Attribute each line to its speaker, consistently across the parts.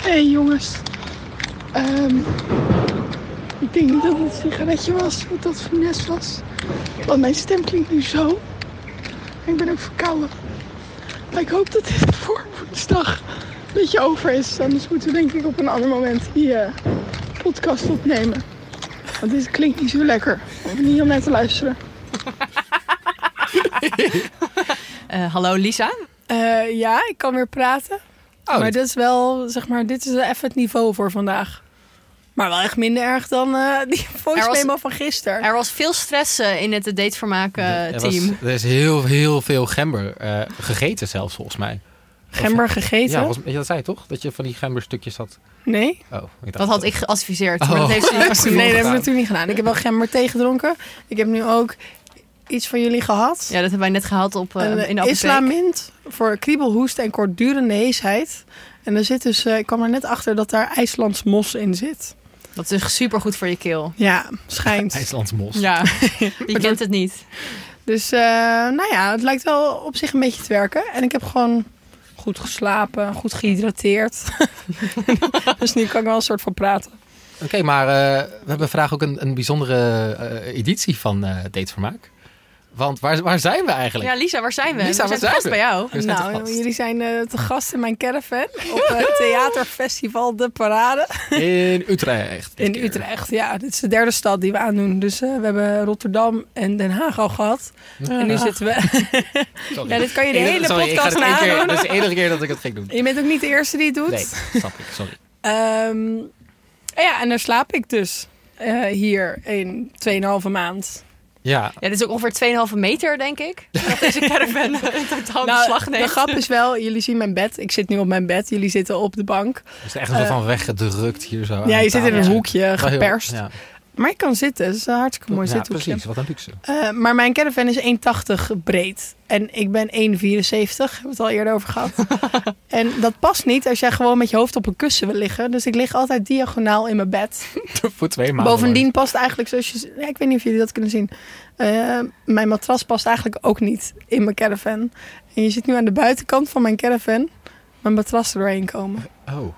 Speaker 1: hey, jongens. Ehm, ik denk niet dat het een sigaretje was, dat dat funest was. Want mijn stem klinkt nu zo. En ik ben ook verkouden. Maar ik hoop dat dit voor woensdag een beetje over is. Anders moeten we denk ik op een ander moment die eh, podcast opnemen. Want dit klinkt niet zo lekker. Ik ben niet om naar te luisteren.
Speaker 2: Eh, hallo Lisa.
Speaker 3: Eh, ja, ik kan weer praten.
Speaker 4: Oh,
Speaker 3: maar
Speaker 4: dit-
Speaker 3: dit is wel, zeg maar, dit is even het niveau voor vandaag. Maar wel echt minder erg dan eh, die voice
Speaker 2: Er was-
Speaker 3: memo van gisteren.
Speaker 2: Er was veel stress eh, in het datevermaak eh,
Speaker 4: er,
Speaker 2: team.
Speaker 4: was- er is heel, heel veel gember eh, gegeten zelfs, volgens mij.
Speaker 3: Gember gegeten?
Speaker 4: Ja, volgens, dat zei je toch? Dat je van die gemberstukjes had.
Speaker 3: Nee?
Speaker 4: Oh, ik dacht
Speaker 2: Dat had ik geadviseerd. Maar
Speaker 4: Oh.
Speaker 2: dat heeft ze niet gezien.
Speaker 3: Nee, dat heb ik
Speaker 4: gedaan.
Speaker 3: natuurlijk niet gedaan. Ik heb wel gember thee gedronken. Ik heb nu ook iets van jullie gehad.
Speaker 2: Ja, dat hebben wij net gehaald op, eh,
Speaker 3: Een
Speaker 2: in de apotheek.
Speaker 3: islamint voor kriebelhoest en kortdurende heesheid. En er zit dus, eh, ik kwam er net achter dat daar IJslands mos in zit.
Speaker 2: Dat is echt super goed voor je keel.
Speaker 3: Ja, schijnt.
Speaker 4: IJslands mos.
Speaker 2: Ja, je kent het niet.
Speaker 3: Dus eh, nou ja, het lijkt wel op zich een beetje te werken. En ik heb gewoon goed geslapen, goed gehydrateerd. dus nu kan ik wel een soort van praten.
Speaker 4: Oké, maar eh, we hebben vandaag ook een, een bijzondere eh, editie van eh Datevermaak. Want waar, waar zijn we eigenlijk?
Speaker 2: Ja, Lisa, waar zijn we?
Speaker 4: Lisa,
Speaker 2: we
Speaker 4: waar
Speaker 2: zijn
Speaker 4: zijn
Speaker 2: vast
Speaker 4: we?
Speaker 2: bij jou.
Speaker 4: We zijn te
Speaker 3: nou,
Speaker 4: gast.
Speaker 3: jullie zijn eh, te gast in mijn caravan op het theaterfestival De Parade.
Speaker 4: In Utrecht. dit
Speaker 3: In
Speaker 4: keer.
Speaker 3: Utrecht, ja. Dit is de derde stad die we aandoen. Dus eh, we hebben Rotterdam en Den Haag al gehad. En nu zitten we...
Speaker 4: Sorry.
Speaker 3: ja, dit kan je de
Speaker 4: Eén-
Speaker 3: hele
Speaker 4: sorry, ik ga
Speaker 3: podcast
Speaker 4: het één keer-
Speaker 3: nadoen.
Speaker 4: Dat is de enige keer dat ik het ging doen.
Speaker 3: Je bent ook niet de eerste die het doet.
Speaker 4: Nee, snap ik. Sorry.
Speaker 3: Ehm, en ja, en daar slaap ik dus eh, hier in 2,5 maand.
Speaker 4: Ja,
Speaker 2: Ja, dit is ook ongeveer 2,5 meter, denk ik. Dat deze caravan in
Speaker 4: Oh,
Speaker 2: totaal beslag
Speaker 3: Nou, de
Speaker 2: neemt.
Speaker 3: grap is wel, jullie zien mijn bed. Ik zit nu op mijn bed, jullie zitten op de bank.
Speaker 4: we zijn echt zo van weggedrukt hier zo. aan
Speaker 3: Eh. ja,
Speaker 4: de
Speaker 3: je zit in
Speaker 4: tafel.
Speaker 3: een hoekje,
Speaker 4: Wel Oh, heel-
Speaker 3: geperst.
Speaker 4: Ja,
Speaker 3: Maar je kan zitten, dus een hartstikke mooi
Speaker 4: Ja,
Speaker 3: zithoekje.
Speaker 4: precies. Wat een luxe.
Speaker 3: Eh, maar mijn caravan is 1,80 breed. En ik ben 1,74. Hebben we het al eerder over gehad. en dat past niet als jij gewoon met je hoofd op een kussen wil liggen. Dus ik lig altijd diagonaal in mijn bed.
Speaker 4: Voor twee maanden.
Speaker 3: Bovendien past eigenlijk, zoals je... Ja, ik weet niet of jullie dat kunnen zien. Eh, mijn matras past eigenlijk ook niet in mijn caravan. En je ziet nu aan de buitenkant van mijn caravan mijn matras er doorheen komen.
Speaker 4: Oh,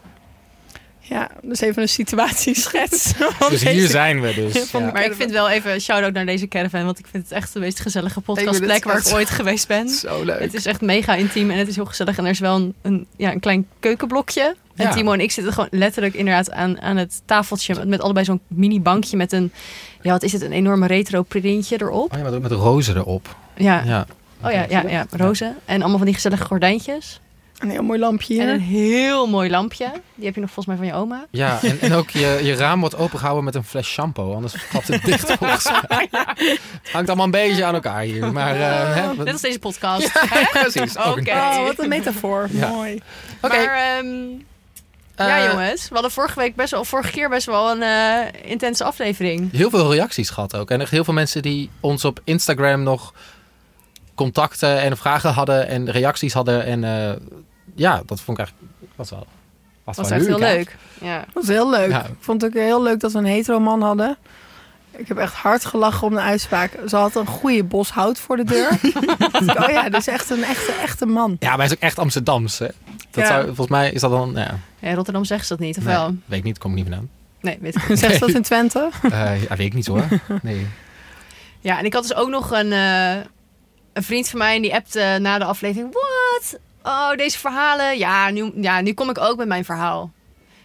Speaker 3: Ja, dus even een situatieschets.
Speaker 4: dus hier zijn we dus.
Speaker 3: Van de-
Speaker 4: Ja.
Speaker 2: Maar ik vind wel even een shout-out naar deze caravan. Want ik vind het echt de meest gezellige podcastplek waar ik ooit geweest ben.
Speaker 4: Zo Oh, leuk.
Speaker 2: Het is echt mega intiem en het is heel gezellig. En er is wel een, een, ja, een klein keukenblokje. En
Speaker 4: Ja.
Speaker 2: Timo en ik zitten gewoon letterlijk inderdaad aan, aan het tafeltje. Met, met allebei zo'n mini bankje met een... Ja, wat is het? Een enorme retro printje erop.
Speaker 4: Oh ja, met, met rozen erop.
Speaker 2: Ja.
Speaker 4: Ja.
Speaker 2: Oh ja, ja, ja. Rozen. En allemaal van die gezellige gordijntjes.
Speaker 3: Een heel mooi lampje
Speaker 2: En een
Speaker 3: hier.
Speaker 2: heel mooi lampje. Die heb je nog volgens mij van je oma.
Speaker 4: Ja, en, en ook je, je raam wordt opengehouden met een fles shampoo. Anders klapt het dicht volgens mij. Het hangt allemaal een beetje aan elkaar hier. Maar eh, hè,
Speaker 2: Net als deze podcast.
Speaker 4: Ja, precies.
Speaker 2: Oké.
Speaker 4: Oké.
Speaker 3: Oh, wat een metafoor.
Speaker 4: Ja.
Speaker 3: Mooi.
Speaker 2: Maar ehm, ja,
Speaker 4: eh,
Speaker 2: jongens. We hadden vorige week best wel, vorige keer best wel een eh, intense aflevering.
Speaker 4: Heel veel reacties gehad ook. En echt heel veel mensen die ons op Instagram nog contacten en vragen hadden en reacties hadden. En eh, ja, dat vond ik eigenlijk... Was wel,
Speaker 2: Dat
Speaker 4: was
Speaker 2: was
Speaker 4: wel
Speaker 2: echt heel
Speaker 4: hè?
Speaker 2: leuk. Ja.
Speaker 3: Dat was heel leuk.
Speaker 4: Ja.
Speaker 3: Ik vond het ook heel leuk dat we een hetero man hadden. Ik heb echt hard gelachen om de uitspraak. Ze had een goede bos hout voor de deur. oh ja, dat is echt een echte, echte man.
Speaker 4: Ja, maar hij is ook echt Amsterdams, hè? Dat
Speaker 3: Ja.
Speaker 4: zou, volgens mij is dat dan... nou Ja,
Speaker 2: Ja, in Rotterdam zegt ze dat niet, of
Speaker 4: nee,
Speaker 2: wel?
Speaker 4: weet ik niet, kom ik niet vandaan.
Speaker 2: Nee, weet ik niet.
Speaker 3: Zegt ze dat in Twente?
Speaker 4: Eh, ja, weet ik niet hoor. Nee.
Speaker 2: Ja, en ik had dus ook nog een, eh, een vriend van mij en die appte eh, na de aflevering... Wat? Oh, deze verhalen. Ja nu, ja, nu kom ik ook met mijn verhaal.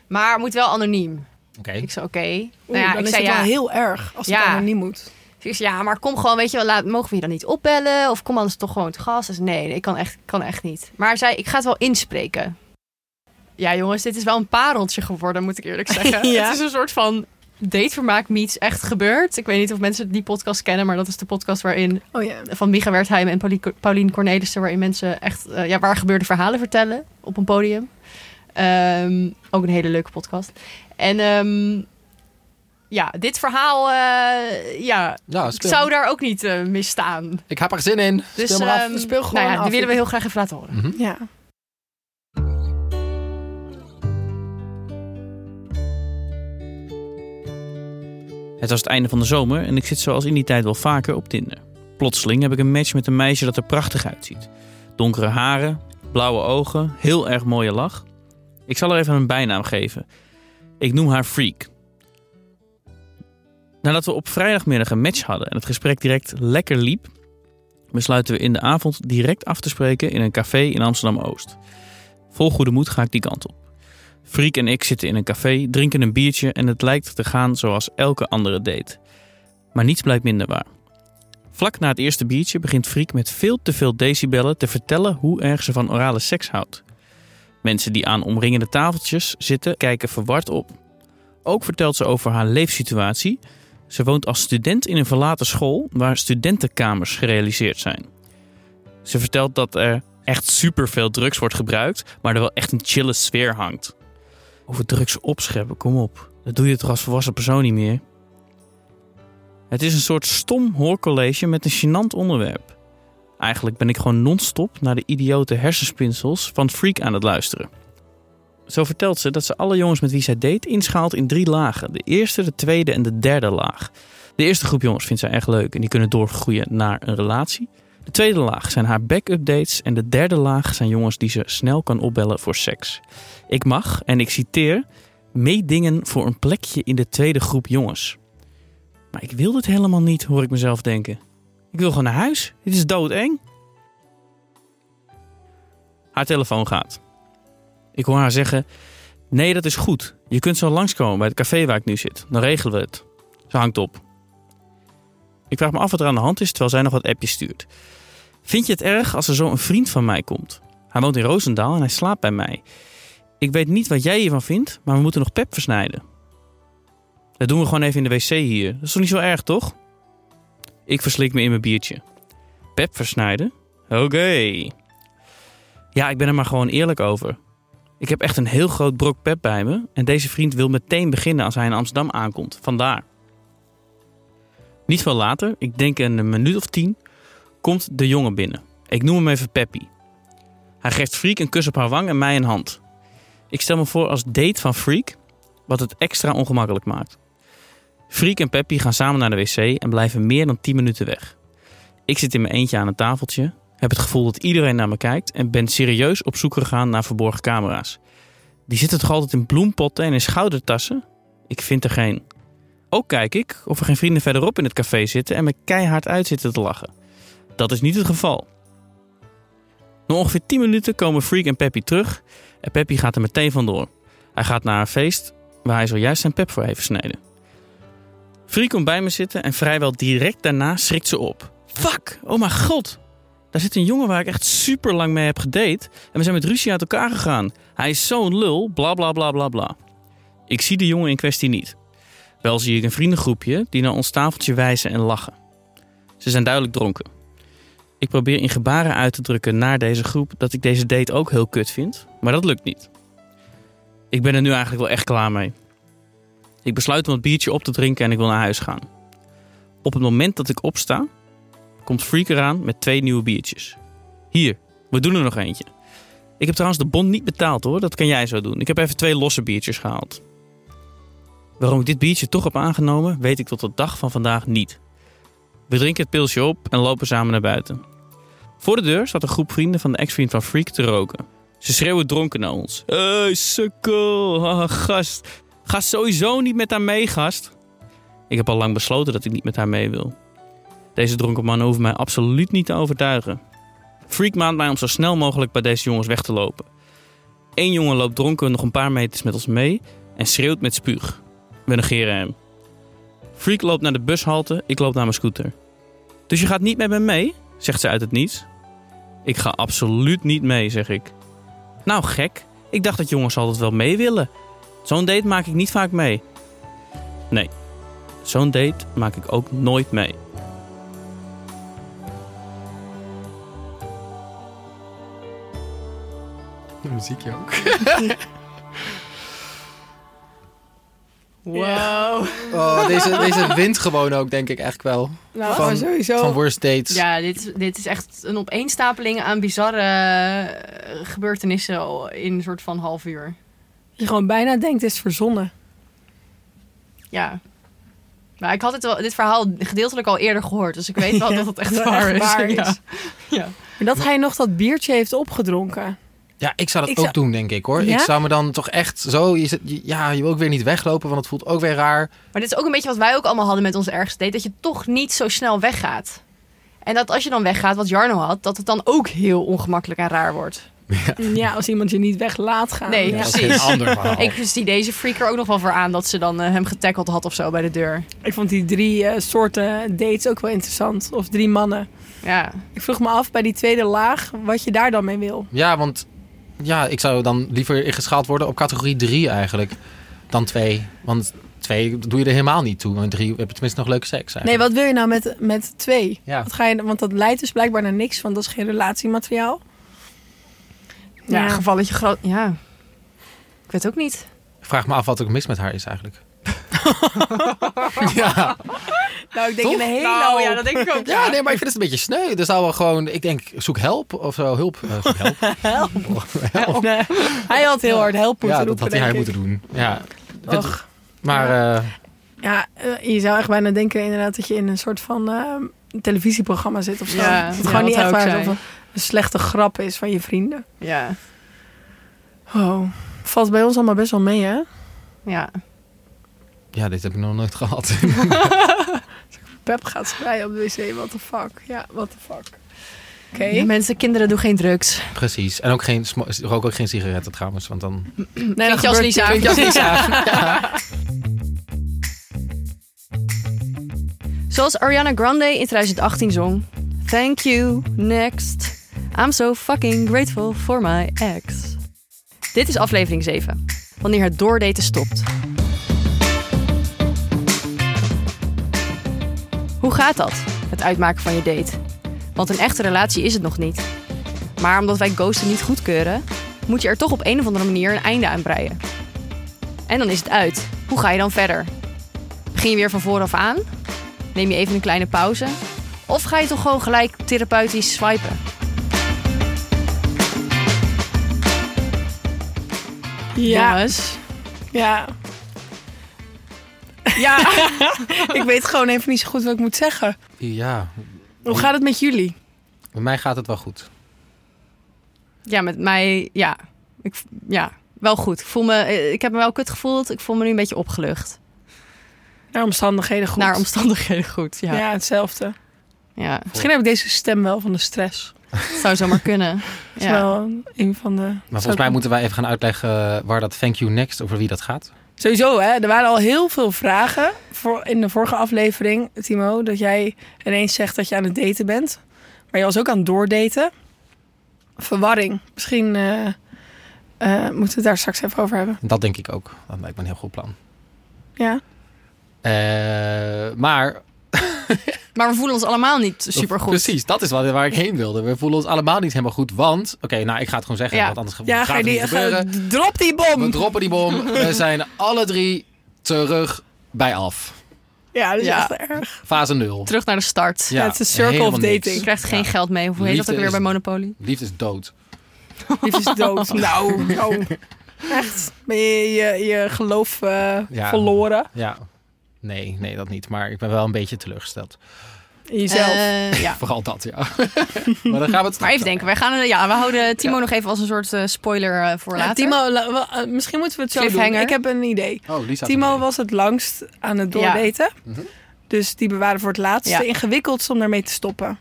Speaker 2: Maar het moet wel anoniem.
Speaker 4: Oké.
Speaker 2: Ik zei, oké. Nou
Speaker 3: Oeh,
Speaker 2: ja,
Speaker 3: dan
Speaker 2: ik
Speaker 3: is
Speaker 2: zei,
Speaker 3: het
Speaker 2: ja.
Speaker 3: wel heel erg als
Speaker 2: Ja.
Speaker 3: het anoniem moet.
Speaker 2: Ze zei, ja, maar kom gewoon, weet je wel, laat, mogen we je dan niet opbellen? Of kom anders toch gewoon te gast? Dus nee, nee, ik kan echt, kan echt niet. Maar zij, ik ga het wel inspreken. Ja, jongens, dit is wel een pareltje geworden, moet ik eerlijk zeggen.
Speaker 3: Ja.
Speaker 2: Het is een soort van datevermaak meets echt gebeurd. Ik weet niet of mensen die podcast kennen, maar dat is de podcast waarin
Speaker 3: Oh ja.
Speaker 2: van Micha Wertheim en Paulie- Paulien Cornelissen, waarin mensen echt eh, ja, waar gebeurde verhalen vertellen op een podium. Ehm, ook een hele leuke podcast. En ehm, ja, dit verhaal eh, ja,
Speaker 4: Ja,
Speaker 2: ik
Speaker 4: speel.
Speaker 2: zou daar ook niet eh misstaan.
Speaker 4: Ik heb er zin in.
Speaker 2: Dus
Speaker 4: speel maar af.
Speaker 2: ehm,
Speaker 3: Speel gewoon
Speaker 2: nou ja, die
Speaker 3: af.
Speaker 2: willen we heel graag even laten horen.
Speaker 4: Mhm.
Speaker 3: ja.
Speaker 5: Het was het einde van de zomer en ik zit zoals in die tijd wel vaker op Tinder. Plotseling heb ik een match met een meisje dat er prachtig uitziet. Donkere haren, blauwe ogen, heel erg mooie lach. Ik zal haar even een bijnaam geven. Ik noem haar Freak. Nadat we op vrijdagmiddag een match hadden en het gesprek direct lekker liep, besluiten we in de avond direct af te spreken in een café in Amsterdam Oost. Vol goede moed ga ik die kant op. Freak en ik zitten in een café, drinken een biertje en het lijkt te gaan zoals elke andere date. Maar niets blijkt minder waar. Vlak na het eerste biertje begint Freak met veel te veel decibellen te vertellen hoe erg ze van orale seks houdt. Mensen die aan omringende tafeltjes zitten kijken verward op. Ook vertelt ze over haar leefsituatie. Ze woont als student in een verlaten school waar studentenkamers gerealiseerd zijn. Ze vertelt dat er echt superveel drugs wordt gebruikt, maar er wel echt een chille sfeer hangt. Over drugs opscheppen, kom op. Dat doe je toch als volwassen persoon niet meer? Het is een soort stom hoorcollege met een gênant onderwerp. Eigenlijk ben ik gewoon non-stop naar de idiote hersenspinsels van Freak aan het luisteren. Zo vertelt ze dat ze alle jongens met wie zij date inschaalt in drie lagen. De eerste, de tweede en de derde laag. De eerste groep jongens vindt zij echt leuk en die kunnen doorgroeien naar een relatie. De tweede laag zijn haar backup dates en de derde laag zijn jongens die ze snel kan opbellen voor seks. Ik mag, en ik citeer, meedingen voor een plekje in de tweede groep jongens. Maar ik wil dit helemaal niet, hoor ik mezelf denken. Ik wil gewoon naar huis. Dit is doodeng. Haar telefoon gaat. Ik hoor haar zeggen: Nee, dat is goed. Je kunt zo langskomen bij het café waar ik nu zit. Dan regelen we het. Ze hangt op. Ik vraag me af wat er aan de hand is terwijl zij nog wat appjes stuurt. Vind je het erg als er zo een vriend van mij komt? Hij woont in Roosendaal en hij slaapt bij mij. Ik weet niet wat jij hiervan vindt, maar we moeten nog pep versnijden. Dat doen we gewoon even in de wc hier. Dat is toch niet zo erg, toch? Ik verslik me in mijn biertje. Pep versnijden? Oké. Ja, ik ben er maar gewoon eerlijk over. Ik heb echt een heel groot brok pep bij me en deze vriend wil meteen beginnen als hij in Amsterdam aankomt. Vandaar. Niet veel later, ik denk een minuut of tien, komt de jongen binnen. Ik noem hem even Peppy. Hij geeft Freak een kus op haar wang en mij een hand. Ik stel me voor als date van Freak, wat het extra ongemakkelijk maakt. Freak en Peppy gaan samen naar de wc en blijven meer dan 10 minuten weg. Ik zit in mijn eentje aan een tafeltje, heb het gevoel dat iedereen naar me kijkt en ben serieus op zoek gegaan naar verborgen camera's. Die zitten toch altijd in bloempotten en in schoudertassen? Ik vind er geen. Ook kijk ik of er geen vrienden verderop in het café zitten en me keihard uit zitten te lachen. Dat is niet het geval. Na ongeveer 10 minuten komen Freak en Peppy terug en Peppy gaat er meteen vandoor. Hij gaat naar haar feest waar hij zojuist zijn pep voor heeft versneden. Free komt bij me zitten en vrijwel direct daarna schrikt ze op. Fuck! Oh mijn god! Daar zit een jongen waar ik echt super lang mee heb gedate en we zijn met ruzie uit elkaar gegaan. Hij is zo'n lul, bla bla bla bla bla. Ik zie de jongen in kwestie niet. Wel zie ik een vriendengroepje die naar ons tafeltje wijzen en lachen. Ze zijn duidelijk dronken. Ik probeer in gebaren uit te drukken naar deze groep dat ik deze date ook heel kut vind, maar dat lukt niet. Ik ben er nu eigenlijk wel echt klaar mee. Ik besluit om het biertje op te drinken en ik wil naar huis gaan. Op het moment dat ik opsta, komt Freak eraan met twee nieuwe biertjes. Hier, we doen er nog eentje. Ik heb trouwens de bon niet betaald hoor, dat kan jij zo doen. Ik heb even twee losse biertjes gehaald. Waarom ik dit biertje toch heb aangenomen, weet ik tot de dag van vandaag niet. We drinken het pilsje op en lopen samen naar buiten. Voor de deur staat een groep vrienden van de ex-vriend van Freak te roken. Ze schreeuwen dronken naar ons. Hé, hey, sukkel, haha, gast. Ga sowieso niet met haar mee, gast. Ik heb al lang besloten dat ik niet met haar mee wil. Deze dronken mannen hoeven mij absoluut niet te overtuigen. Freak maand mij om zo snel mogelijk bij deze jongens weg te lopen. Eén jongen loopt dronken nog een paar meters met ons mee en schreeuwt met spuug. We negeren hem. Freak loopt naar de bushalte, ik loop naar mijn scooter. Dus je gaat niet met me mee? zegt ze uit het niets. Ik ga absoluut niet mee, zeg ik. Nou, gek. Ik dacht dat jongens altijd wel mee willen. Zo'n date maak ik niet vaak mee. Nee, zo'n date maak ik ook nooit mee.
Speaker 4: De muziekje ook.
Speaker 2: Wow.
Speaker 4: Oh, deze, deze wint gewoon ook, denk ik echt wel.
Speaker 3: Nou,
Speaker 4: Van-
Speaker 3: maar sowieso.
Speaker 4: Van worst dates.
Speaker 2: Ja, dit, is- dit is echt een opeenstapeling aan bizarre eh, gebeurtenissen al in een soort van half uur.
Speaker 3: je gewoon bijna denkt, is verzonnen.
Speaker 2: Ja. Maar ik had het wel, dit verhaal gedeeltelijk al eerder gehoord, dus ik weet wel
Speaker 3: Ja,
Speaker 2: dat het echt
Speaker 3: dat
Speaker 2: waar
Speaker 3: echt
Speaker 2: is.
Speaker 3: waar
Speaker 2: Ja.
Speaker 3: is. Maar dat hij nog dat biertje heeft opgedronken.
Speaker 4: Ja, ik zou dat
Speaker 3: Ik
Speaker 4: ook
Speaker 3: zou-
Speaker 4: doen, denk ik hoor.
Speaker 3: Ja?
Speaker 4: Ik zou me dan toch echt zo. Je, zit- je- ja, je wil ook weer niet weglopen, want het voelt ook weer raar.
Speaker 2: Maar dit is ook een beetje wat wij ook allemaal hadden met ons ergste date. Dat je toch niet zo snel weggaat. En dat als je dan weggaat, wat Jarno had, dat het dan ook heel ongemakkelijk en raar wordt.
Speaker 3: Ja, als iemand je niet weg laat gaan.
Speaker 2: Nee,
Speaker 3: Ja.
Speaker 4: dat is een
Speaker 2: precies.
Speaker 4: ander verhaal.
Speaker 2: Ik zie deze freak er ook nog wel voor aan dat ze dan eh, hem getackeld had of zo bij de deur.
Speaker 3: Ik vond die drie eh, soorten dates ook wel interessant. Of drie mannen.
Speaker 2: Ja.
Speaker 3: Ik vroeg me af bij die tweede laag wat je daar dan mee wil.
Speaker 4: Ja, want ja, ik zou dan liever ingeschaald worden op categorie 3 eigenlijk dan 2. Want 2 doe je er helemaal niet toe. En 3 heb je tenminste nog leuke seks. Eigenlijk.
Speaker 3: Nee, wat wil je nou met, met twee?
Speaker 4: Ja.
Speaker 3: Wat ga je, want dat leidt dus blijkbaar naar niks, want dat is geen relatiemateriaal.
Speaker 2: Ja,
Speaker 3: Ja.
Speaker 2: gevalletje groot. Ja. Ik weet ook niet.
Speaker 4: Ik vraag me af wat er mis met haar is eigenlijk. ja.
Speaker 3: Nou, ik denk
Speaker 4: Toch?
Speaker 3: een hele
Speaker 2: nou, ja,
Speaker 3: hoop.
Speaker 2: dat denk ik ook.
Speaker 4: ja, nee, maar ik vind het een beetje sneu. Er zou wel gewoon, ik denk, zoek help of zo. Hulp. Eh, zoek help.
Speaker 3: Of, nee, hij had heel hard help moeten
Speaker 4: ja, dat
Speaker 3: roepen,
Speaker 4: had hij haar
Speaker 3: denk
Speaker 4: moeten
Speaker 3: ik.
Speaker 4: doen. Ja.
Speaker 3: Och.
Speaker 4: Maar eh,
Speaker 3: Ja, eh, je zou echt bijna denken inderdaad dat je in een soort van ehm, televisieprogramma zit of zo.
Speaker 2: Ja,
Speaker 3: dat het
Speaker 2: ja,
Speaker 3: gewoon
Speaker 2: dat
Speaker 3: niet echt
Speaker 2: zou
Speaker 3: waar
Speaker 2: ik
Speaker 3: is of
Speaker 2: zijn.
Speaker 3: een, een slechte grap is van je vrienden.
Speaker 2: Ja.
Speaker 3: Oh, valt bij ons allemaal best wel mee, hè?
Speaker 2: Ja.
Speaker 4: ja, dit heb ik nog nooit gehad.
Speaker 3: Pep gaat vrij op de wc, what the fuck. Ja, what the fuck. Oké.
Speaker 2: Ja, Mensen, kinderen, doen geen drugs.
Speaker 4: Precies. En ook geen, smo- rook ook geen sigaretten trouwens, want dan
Speaker 3: Nee,
Speaker 2: Klinkt je als Lisa.
Speaker 3: Klinkt je als Lisa.
Speaker 2: Zoals Ariana Grande in 2018 zong. Thank you, next. I'm so fucking grateful for my ex. Dit is aflevering 7. Wanneer het doordaten stopt. Hoe gaat dat? Het uitmaken van je date. Want een echte relatie is het nog niet. Maar omdat wij ghosten niet goedkeuren, moet je er toch op een of andere manier een einde aan breien. En dan is het uit. Hoe ga je dan verder? Begin je weer van vooraf aan? Neem je even een kleine pauze? Of ga je toch gewoon gelijk therapeutisch swipen?
Speaker 3: Ja,
Speaker 2: Jongens.
Speaker 3: ja.
Speaker 2: Ja.
Speaker 3: Ik weet gewoon even niet zo goed wat ik moet zeggen.
Speaker 4: ja,
Speaker 3: Hoe gaat het met jullie?
Speaker 4: bij mij gaat het wel goed.
Speaker 2: ja, met mij, ja. Ik, ja, wel goed. Ik, voel me, eh, ik heb me wel kut gevoeld. Ik voel me nu een beetje opgelucht.
Speaker 3: Naar omstandigheden goed.
Speaker 2: Naar omstandigheden goed, ja.
Speaker 3: ja.
Speaker 2: ja.
Speaker 3: hetzelfde. Misschien heb ik deze stem wel van de stress.
Speaker 2: Het zou zomaar kunnen.
Speaker 3: Dat is
Speaker 2: Ja.
Speaker 3: wel een van de...
Speaker 4: Maar volgens mij moeten wij even gaan uitleggen eh, waar dat thank you next, over wie dat gaat.
Speaker 3: Sowieso, hè. Er waren al heel veel vragen voor in de vorige aflevering, Timo. Dat jij ineens zegt dat je aan het daten bent. Maar je was ook aan het doordaten. Verwarring. Misschien eh, eh, moeten we het daar straks even over hebben.
Speaker 4: Dat denk ik ook. Dat lijkt me een heel goed plan.
Speaker 3: Ja.
Speaker 4: Eh, maar...
Speaker 2: Maar we voelen ons allemaal niet supergoed.
Speaker 4: Precies, dat is wat, waar ik heen wilde. We voelen ons allemaal niet helemaal goed, want... Oké, nou, ik ga het gewoon zeggen,
Speaker 2: Ja.
Speaker 4: want anders
Speaker 3: Ja,
Speaker 4: gaat
Speaker 3: ga je
Speaker 4: het niet
Speaker 3: die, ga,
Speaker 4: gebeuren.
Speaker 3: drop die
Speaker 4: We
Speaker 3: bom!
Speaker 4: droppen die bom. We zijn alle drie terug bij af.
Speaker 3: Ja, dat is
Speaker 2: Ja.
Speaker 3: echt erg.
Speaker 4: Fase nul.
Speaker 2: Terug naar de start.
Speaker 4: Ja,
Speaker 3: het is een circle of
Speaker 4: helemaal niks.
Speaker 2: Je
Speaker 3: dating.
Speaker 2: krijgt geen
Speaker 4: Ja.
Speaker 2: geld mee. Hoe heet dat
Speaker 4: Liefde
Speaker 2: ook weer
Speaker 4: is-
Speaker 2: bij Monopoly?
Speaker 4: Liefde is dood.
Speaker 3: Liefde is dood. nou, nou. Echt. Ben je je, je geloof eh,
Speaker 4: Ja.
Speaker 3: verloren
Speaker 4: Ja. Nee, nee, dat niet. Maar ik ben wel een beetje teleurgesteld.
Speaker 3: in jezelf?
Speaker 2: Eh, ja.
Speaker 4: Vooral dat, ja. maar dan gaan we het
Speaker 2: Maar even denken, wij gaan, eh, ja, we houden Timo nog even als een soort eh, spoiler eh, voor
Speaker 3: Ja,
Speaker 2: later.
Speaker 3: Timo, la- wa- eh, misschien moeten we het zo doen.
Speaker 2: Cliffhanger.
Speaker 3: Ik heb een idee.
Speaker 4: Oh, Lisa.
Speaker 3: Timo was het langst aan het doordaten.
Speaker 4: Mhm.
Speaker 3: Dus die bewaren voor het laatste.
Speaker 2: Ja.
Speaker 3: Ingewikkeldst om daarmee te stoppen.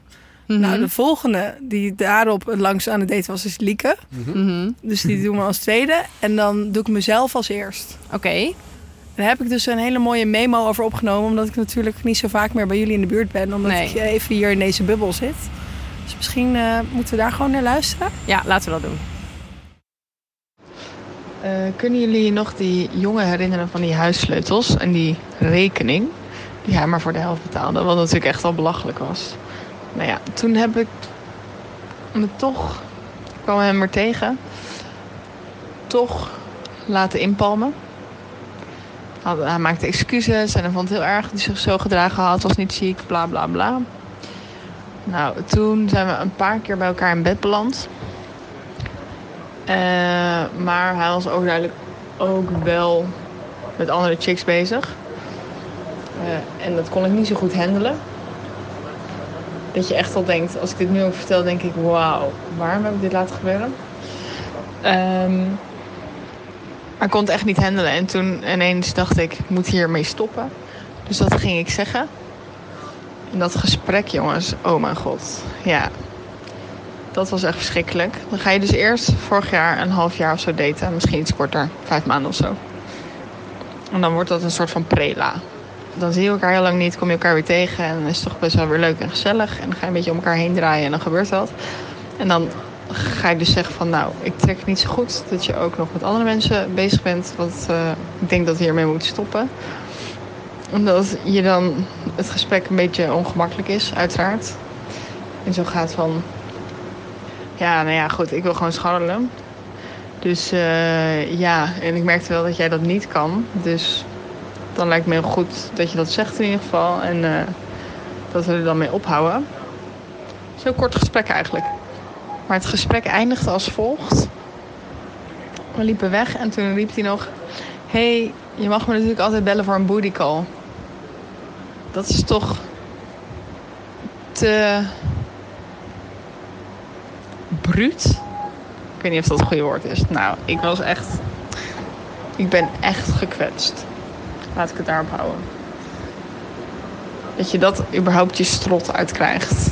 Speaker 2: Mhm.
Speaker 3: Nou, de volgende die daarop het langst aan het daten was, is Lieke.
Speaker 2: Mhm.
Speaker 3: Dus die doen we als tweede. En dan doe ik mezelf als eerst.
Speaker 2: Oké.
Speaker 3: En daar heb ik dus een hele mooie memo over opgenomen. Omdat ik natuurlijk niet zo vaak meer bij jullie in de buurt ben. Omdat
Speaker 2: Nee.
Speaker 3: ik even hier in deze bubbel zit. Dus misschien eh, moeten we daar gewoon naar luisteren.
Speaker 2: Ja, laten we dat doen.
Speaker 1: Eh, kunnen jullie nog die jongen herinneren van die huissleutels en die rekening die hij maar voor de helft betaalde, wat natuurlijk echt al belachelijk was. Nou ja, toen heb ik me toch, ik kwam hem er tegen, toch laten inpalmen. Had- hij maakte excuses en hij vond het heel erg dat hij zich zo gedragen had, was niet ziek, bla bla bla. Nou, toen zijn we een paar keer bij elkaar in bed beland. Eh, maar hij was overduidelijk ook wel met andere chicks bezig. Eh, en dat kon ik niet zo goed handelen. Dat je echt al denkt, als ik dit nu ook vertel, denk ik, wauw, waarom heb ik dit laten gebeuren?
Speaker 6: Ehm, maar ik kon het echt niet handelen. En toen ineens dacht ik, ik moet hiermee stoppen. Dus dat ging ik zeggen. En dat gesprek, jongens, oh mijn god. Ja, dat was echt verschrikkelijk. Dan ga je dus eerst vorig jaar een half jaar of zo daten. Misschien iets korter, vijf maanden of zo. En dan wordt dat een soort van prela. Dan zie je elkaar heel lang niet, kom je elkaar weer tegen. En dan is het toch best wel weer leuk en gezellig. En dan ga je een beetje om elkaar heen draaien en dan gebeurt dat. En dan ga ik dus zeggen van nou, ik trek het niet zo goed dat je ook nog met andere mensen bezig bent. Want eh, ik denk dat we hiermee moeten stoppen. Omdat je dan het gesprek een beetje ongemakkelijk is, uiteraard. En zo gaat van ja, nou ja, goed, ik wil gewoon scharrelen. Dus eh, ja, en ik merkte wel dat jij dat niet kan. Dus dan lijkt me heel goed dat je dat zegt in ieder geval. En eh, dat we er dan mee ophouden. Zo'n kort gesprek eigenlijk. Maar het gesprek eindigde als volgt. We liepen weg en toen riep hij nog... Hé, hey, je mag me natuurlijk altijd bellen voor een booty call. Dat is toch... te... bruut? Ik weet niet of dat het goede woord is. Nou, ik was echt... Ik ben echt gekwetst. Laat ik het daarop houden. Dat je dat überhaupt je strot uitkrijgt.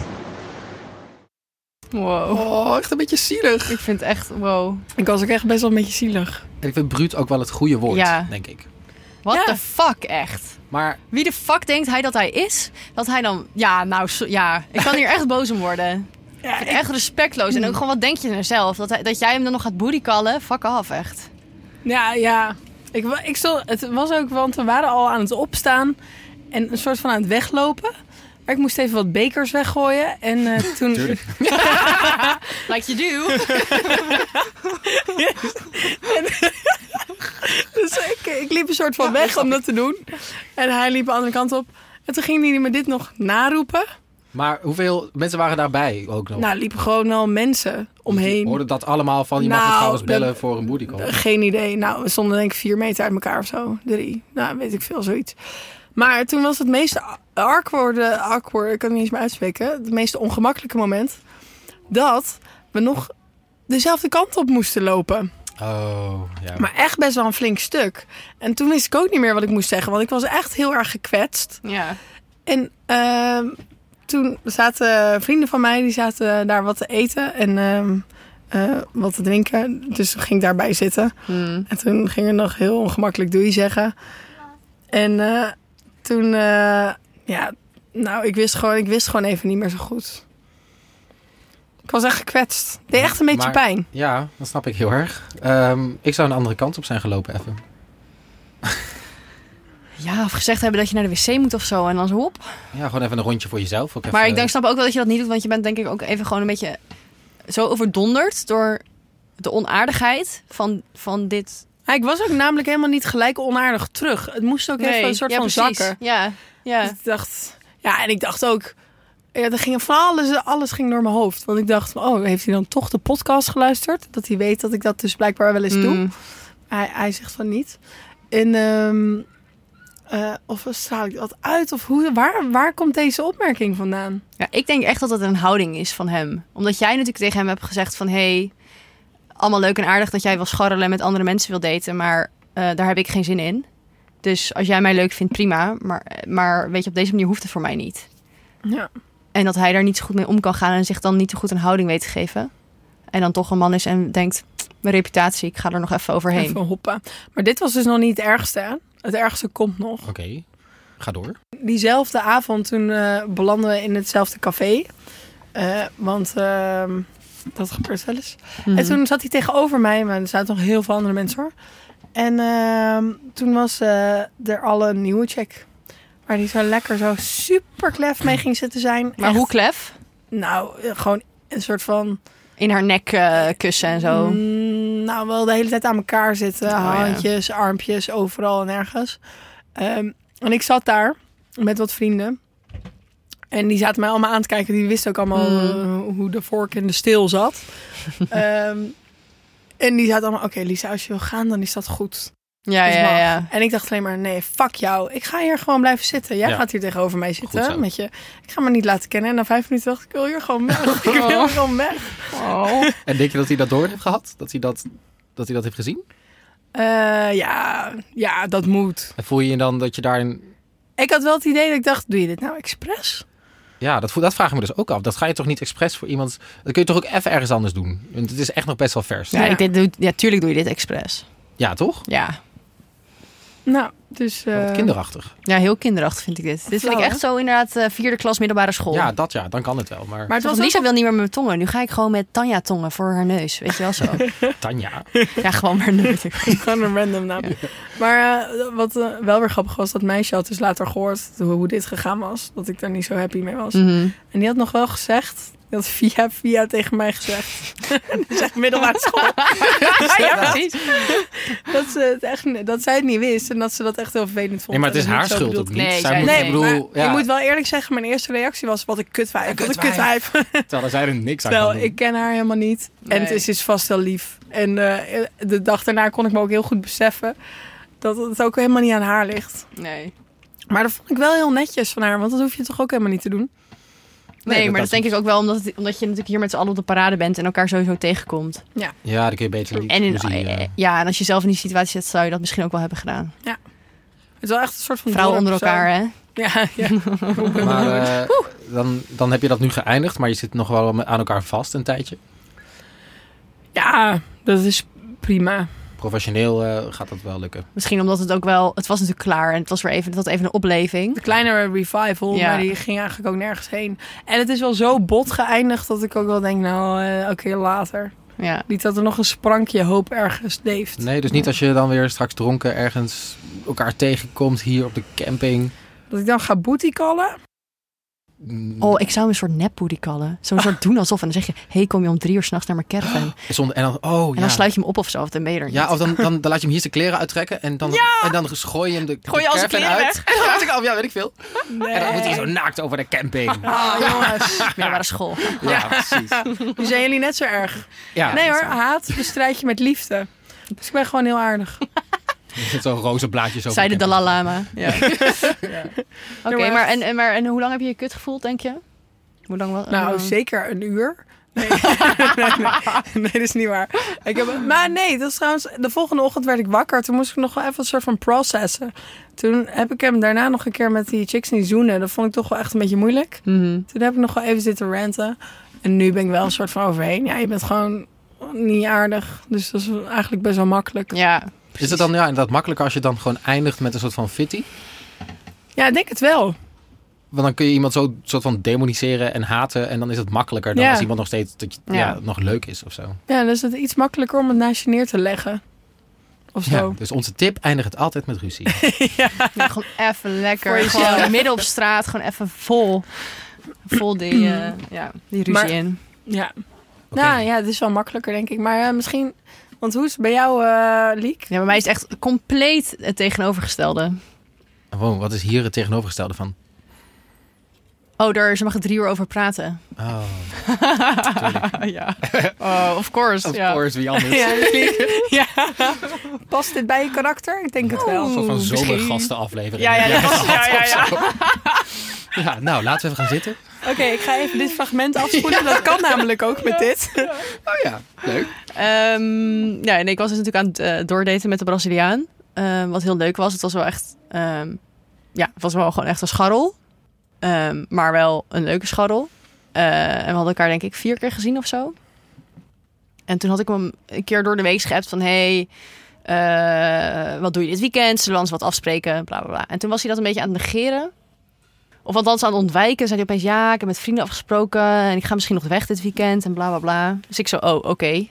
Speaker 2: Wow.
Speaker 3: Oh, echt een beetje zielig.
Speaker 2: Ik vind het echt, wow.
Speaker 3: Ik was ook echt best wel een beetje zielig.
Speaker 4: En ik vind bruut ook wel het goede woord,
Speaker 2: Ja.
Speaker 4: denk ik.
Speaker 2: What
Speaker 3: Ja.
Speaker 2: the fuck, echt.
Speaker 4: Maar
Speaker 2: Wie de fuck denkt hij dat hij is? Dat hij dan, ja, nou, zo- ja. Ik kan hier echt boos om worden.
Speaker 3: Ja, ik-
Speaker 2: Echt respectloos. En ook gewoon, wat denk je nou zelf? Dat, hij, dat jij hem dan nog gaat bootycallen? Fuck af, echt.
Speaker 3: Ja, ja. Ik, wa- ik stond, het was ook, want we waren al aan het opstaan en een soort van aan het weglopen. Maar ik moest even wat bekers weggooien. En eh, toen.
Speaker 2: Like you do.
Speaker 3: Dus ik, ik liep een soort van weg om dat te doen. En hij liep de andere kant op. En toen ging hij me dit nog naroepen.
Speaker 4: Maar hoeveel mensen waren daarbij ook nog?
Speaker 3: Nou, er liepen gewoon al mensen omheen.
Speaker 4: Hoorden dat allemaal van, je mag
Speaker 3: Nou,
Speaker 4: het trouwens
Speaker 3: de-
Speaker 4: bellen voor een bootycall.
Speaker 3: Geen idee. Nou, we stonden denk ik vier meter uit elkaar of zo. Drie. Nou, weet ik veel, zoiets. Maar toen was het meest awkward, awkward ik kan het niet eens meer uitspreken. Het meest ongemakkelijke moment. Dat we nog dezelfde kant op moesten lopen.
Speaker 4: Oh, ja.
Speaker 3: Maar echt best wel een flink stuk. En toen wist ik ook niet meer wat ik moest zeggen. Want ik was echt heel erg gekwetst.
Speaker 2: Ja.
Speaker 3: En ehm, toen zaten vrienden van mij, die zaten daar wat te eten en ehm, eh, wat te drinken. Dus toen ging ik daarbij zitten.
Speaker 2: Hmm.
Speaker 3: En toen ging er nog heel ongemakkelijk doei zeggen. En eh, toen, eh, ja, nou, ik wist, gewoon, ik wist gewoon even niet meer zo goed. Ik was echt gekwetst. Deed echt een beetje
Speaker 4: Maar-
Speaker 3: pijn.
Speaker 4: Ja, dat snap ik heel erg. Ehm, ik zou een andere kant op zijn gelopen even.
Speaker 2: Ja, of gezegd hebben dat je naar de wc moet of zo. En dan zo, hop.
Speaker 4: Ja, gewoon even een rondje voor jezelf. Ook even,
Speaker 2: Maar ik denk, snap ook wel dat je dat niet doet. Want je bent denk ik ook even gewoon een beetje zo overdonderd door de onaardigheid van, van dit.
Speaker 3: Ja, ik was ook namelijk helemaal niet gelijk onaardig terug. Het moest ook even een soort
Speaker 2: ja,
Speaker 3: van
Speaker 2: precies.
Speaker 3: zakken.
Speaker 2: Ja,
Speaker 3: Dus
Speaker 2: ja.
Speaker 3: ik dacht, ja, en ik dacht ook, ja, er ging van alles, alles ging door mijn hoofd. Want ik dacht, oh, heeft hij dan toch de podcast geluisterd? Dat hij weet dat ik dat dus blijkbaar wel eens doe.
Speaker 2: Mm.
Speaker 3: Hij, hij zegt van niet. En, ehm, eh, of straal ik dat uit? Of hoe, waar, waar komt deze opmerking vandaan?
Speaker 2: Ja, ik denk echt dat het een houding is van hem. Omdat jij natuurlijk tegen hem hebt gezegd van... hey, allemaal leuk en aardig dat jij wil scharrelen en met andere mensen wil daten... maar eh, daar heb ik geen zin in. Dus als jij mij leuk vindt, prima. Maar, maar weet je, op deze manier hoeft het voor mij niet.
Speaker 3: Ja.
Speaker 2: En dat hij daar niet zo goed mee om kan gaan... en zich dan niet zo goed een houding weet te geven. En dan toch een man is en denkt... mijn reputatie, ik ga er nog even overheen.
Speaker 3: Even hoppen. Maar dit was dus nog niet het ergste. hè? Het ergste komt nog.
Speaker 4: Oké, ga door.
Speaker 3: diezelfde avond toen eh, belanden we in hetzelfde café. Eh, want ehm, dat gebeurt wel eens.
Speaker 2: Mhm.
Speaker 3: En toen zat hij tegenover mij, maar er zaten nog heel veel andere mensen hoor. En ehm, toen was eh, er al een nieuwe check. Waar hij zo lekker zo super klef mee ging zitten zijn.
Speaker 2: Maar
Speaker 3: Echt.
Speaker 2: hoe klef?
Speaker 3: Nou, eh, gewoon een soort van...
Speaker 2: In haar nek eh, kussen en zo. Oh,
Speaker 3: Mm, nou, wel de hele tijd aan elkaar zitten.
Speaker 2: ja.
Speaker 3: handjes, armpjes, overal en ergens. Ehm, en ik zat daar met wat vrienden. En die zaten mij allemaal aan te kijken. Die wisten ook allemaal
Speaker 2: Mm.
Speaker 3: eh, hoe de vork in de steel zat. Ehm, en die zaten allemaal, oké Lisa, als je wil gaan, dan is dat goed.
Speaker 2: Ja,
Speaker 3: Dus
Speaker 2: ja,
Speaker 3: mag.
Speaker 2: ja.
Speaker 3: En ik dacht alleen maar, nee, fuck jou. Ik ga hier gewoon blijven zitten. Jij
Speaker 4: Ja.
Speaker 3: gaat hier tegenover mij
Speaker 4: Goed zo.
Speaker 3: zitten met je. Ik ga me niet laten kennen. En na vijf minuten dacht ik, ik wil hier gewoon weg. Ik wil gewoon weg.
Speaker 2: Oh.
Speaker 4: En denk je dat hij dat door heeft gehad? Dat hij dat, dat, hij dat heeft gezien?
Speaker 3: Eh, ja, ja, dat moet.
Speaker 4: En voel je je dan dat je daarin...
Speaker 3: Ik had wel het idee dat ik dacht, doe je dit nou expres?
Speaker 4: Ja, dat, voel- dat vraag ik me dus ook af. Dat ga je toch niet expres voor iemand... Dat kun je toch ook even ergens anders doen? Want het is echt nog best wel vers.
Speaker 2: Ja,
Speaker 4: Ja,
Speaker 2: ik dit doe, ja, tuurlijk doe je dit expres.
Speaker 4: toch?
Speaker 2: Ja.
Speaker 3: Nou, dus... eh,
Speaker 4: Wat kinderachtig.
Speaker 2: ja, heel kinderachtig vind ik dit. Dit vind
Speaker 3: Flauw,
Speaker 2: ik
Speaker 3: hè?
Speaker 2: echt zo inderdaad eh, vierde klas middelbare school.
Speaker 4: Ja, dat ja. Dan kan het wel. Maar,
Speaker 3: Maar het
Speaker 2: Zoals
Speaker 3: was niet
Speaker 2: Lisa wil niet meer met mijn tongen. Nu ga ik gewoon met Tanja tongen voor haar neus. Weet je wel zo.
Speaker 4: Tanja...
Speaker 2: ja, gewoon maar neus.
Speaker 3: Gewoon een random naam. Maar eh, wat eh, wel weer grappig was, dat meisje had dus later gehoord hoe, hoe dit gegaan was. Dat ik daar niet zo happy mee was.
Speaker 2: Mhm.
Speaker 3: En die had nog wel gezegd, die had via via tegen mij gezegd. dat is echt middelbare school. ja, precies. dat, ze het echt, dat zij het niet wist en dat ze dat echt heel vervelend vond.
Speaker 4: Nee, maar het
Speaker 3: En
Speaker 4: is
Speaker 3: dat
Speaker 4: haar
Speaker 3: ik zo
Speaker 4: schuld
Speaker 3: bedoeld-
Speaker 4: ook niet.
Speaker 2: Nee,
Speaker 4: zij
Speaker 2: zij-
Speaker 4: moet,
Speaker 2: Nee,
Speaker 4: ik bedoel,
Speaker 3: maar
Speaker 4: ja,
Speaker 3: ik moet wel eerlijk zeggen, mijn eerste reactie was, wat een kutwijf. Wat een kutwijf.
Speaker 4: kutwijf. terwijl daar zij er niks aan kan
Speaker 3: Terwijl
Speaker 4: doen.
Speaker 3: ik ken haar helemaal niet. En het
Speaker 2: Nee.
Speaker 3: is, is vast wel lief. En eh, de dag daarna kon ik me ook heel goed beseffen dat het ook helemaal niet aan haar ligt.
Speaker 2: Nee.
Speaker 3: Maar dat vond ik wel heel netjes van haar, want dat hoef je toch ook helemaal niet te doen.
Speaker 2: Nee,
Speaker 4: dat-
Speaker 2: maar
Speaker 4: dat
Speaker 2: dat denk ik ook wel omdat, het- omdat je natuurlijk hier met z'n allen op de parade bent en elkaar sowieso tegenkomt.
Speaker 4: Ja, dan kun je beter niet
Speaker 2: En, in,
Speaker 4: ruzie, eh,
Speaker 2: eh, ja, en als je zelf in die situatie zit, zou je dat misschien ook wel hebben gedaan.
Speaker 3: Het is wel echt een soort van
Speaker 2: Vrouwen
Speaker 3: dorp
Speaker 2: onder
Speaker 3: of zo.
Speaker 2: elkaar, hè?
Speaker 3: Ja, ja.
Speaker 4: Maar eh, dan, dan heb je dat nu geëindigd, maar je zit nog wel met- aan elkaar vast een tijdje.
Speaker 3: ja, dat is prima.
Speaker 4: Professioneel eh, gaat dat wel lukken.
Speaker 2: Misschien omdat het ook wel... Het was natuurlijk klaar en het was weer even, het had even een opleving.
Speaker 3: De kleinere revival,
Speaker 2: Ja.
Speaker 3: maar die ging eigenlijk ook nergens heen. En het is wel zo bot geëindigd dat ik ook wel denk, nou, eh, oké, later.
Speaker 2: Ja.
Speaker 3: Niet dat er nog een sprankje hoop ergens leeft.
Speaker 4: Nee, dus niet als je dan weer straks dronken ergens elkaar tegenkomt hier op de camping.
Speaker 3: Dat ik dan ga bootycallen.
Speaker 4: Mm,
Speaker 2: Oh, ik zou me een soort nepboody kallen. Zo'n soort doen alsof. En dan zeg je, hey, kom je om drie uur s'nachts naar mijn caravan? En
Speaker 4: Zonder, en dan, oh ja.
Speaker 2: dan sluit je hem op of zo, of dan ben je er niet.
Speaker 4: ja, of dan, dan, dan laat je hem hier zijn kleren uittrekken en dan, en dan gooi je hem de,
Speaker 2: Gooi je
Speaker 4: de
Speaker 2: al zijn
Speaker 4: caravan
Speaker 2: kleren
Speaker 4: uit. En dan gaat hij- oh, ja, weet ik veel. En dan moet hij zo naakt over de camping.
Speaker 3: Ah, jongens.
Speaker 2: middelbare school.
Speaker 4: Ja, precies.
Speaker 3: Nu zijn jullie net zo erg.
Speaker 4: Ja,
Speaker 3: nee hoor, haat bestrijd je met liefde. Dus ik ben gewoon heel aardig.
Speaker 4: Er zitten zo'n roze blaadjes over
Speaker 2: Zei de
Speaker 4: de
Speaker 2: Dalai Lama. Ja. Oké,
Speaker 3: Ja, maar-
Speaker 2: maar, en, en, maar en hoe lang heb je je kut gevoeld, denk je? Hoe lang was
Speaker 3: Nou,
Speaker 2: eh,
Speaker 3: zeker een uur. Nee. nee, nee. Nee, dat is niet waar. Ik heb, maar nee, dat is trouwens... De volgende ochtend werd ik wakker. Toen moest ik nog wel even een soort van processen. Toen heb ik hem daarna nog een keer met die chicks niet zoenen. Dat vond ik toch wel echt een beetje moeilijk.
Speaker 2: mhm.
Speaker 3: Toen heb ik nog wel even zitten ranten. En nu ben ik wel een soort van overheen. Ja, je bent gewoon niet aardig. Dus dat is eigenlijk best wel makkelijk.
Speaker 2: Ja.
Speaker 4: Is het dan ja, inderdaad makkelijker als je dan gewoon eindigt met een soort van fitty?
Speaker 3: Ja, ik denk het wel.
Speaker 4: Want dan kun je iemand zo soort van demoniseren en haten. En dan is het makkelijker dan
Speaker 3: Ja.
Speaker 4: als iemand nog steeds dat je, ja.
Speaker 2: Ja.
Speaker 4: nog leuk is of zo.
Speaker 3: Ja, dan is het iets makkelijker om het naast je neer te leggen. Of
Speaker 4: Ja,
Speaker 3: zo.
Speaker 4: dus onze tip eindigt het altijd met ruzie.
Speaker 2: Ja, gewoon even lekker.
Speaker 3: Voor jezelf.
Speaker 2: Gewoon midden op straat, gewoon even vol. Vol die, eh, ja, die ruzie
Speaker 3: Maar-
Speaker 2: in.
Speaker 3: Ja.
Speaker 4: Oké.
Speaker 3: Nou ja, het is wel makkelijker, denk ik. Maar eh, misschien... Want hoe is het bij jou, eh Liek?
Speaker 2: Ja, bij mij is het echt compleet het tegenovergestelde.
Speaker 4: Wow, Oh, wat is hier het tegenovergestelde van?
Speaker 2: Oh, daar ze mag er drie uur over praten.
Speaker 4: Oh,
Speaker 2: ja. Oh, of course.
Speaker 4: of
Speaker 2: ja.
Speaker 4: course, wie anders?
Speaker 3: Ja, Liek. ja. Past dit bij je karakter? Ik denk het
Speaker 4: Een
Speaker 3: wel.
Speaker 4: soort van
Speaker 2: misschien.
Speaker 4: zomergastenaflevering.
Speaker 2: Ja, ja, ja. ja, ja, ja.
Speaker 4: Ja, nou, laten we even gaan zitten.
Speaker 3: Oké, ik ga even dit fragment afspoelen. Dat kan namelijk ook met dit.
Speaker 4: Oh ja, leuk.
Speaker 2: Ehm, ja, en ik was dus natuurlijk aan het eh, doordaten met de Braziliaan. Ehm, wat heel leuk was. Het was wel echt... ehm, ja, het was wel gewoon echt een scharrel. Ehm, maar wel een leuke scharrel. Eh, en we hadden elkaar denk ik vier keer gezien of zo. En toen had ik hem een keer door de week geappt van... Hey, eh, wat doe je dit weekend? Zullen we ons wat afspreken? Bla, bla, bla. En toen was hij dat een beetje aan het negeren. Of althans aan het ontwijken. Zei hij opeens, ja, ik heb met vrienden afgesproken. En ik ga misschien nog weg dit weekend. En bla, bla, bla. Dus ik zo, oh, oké.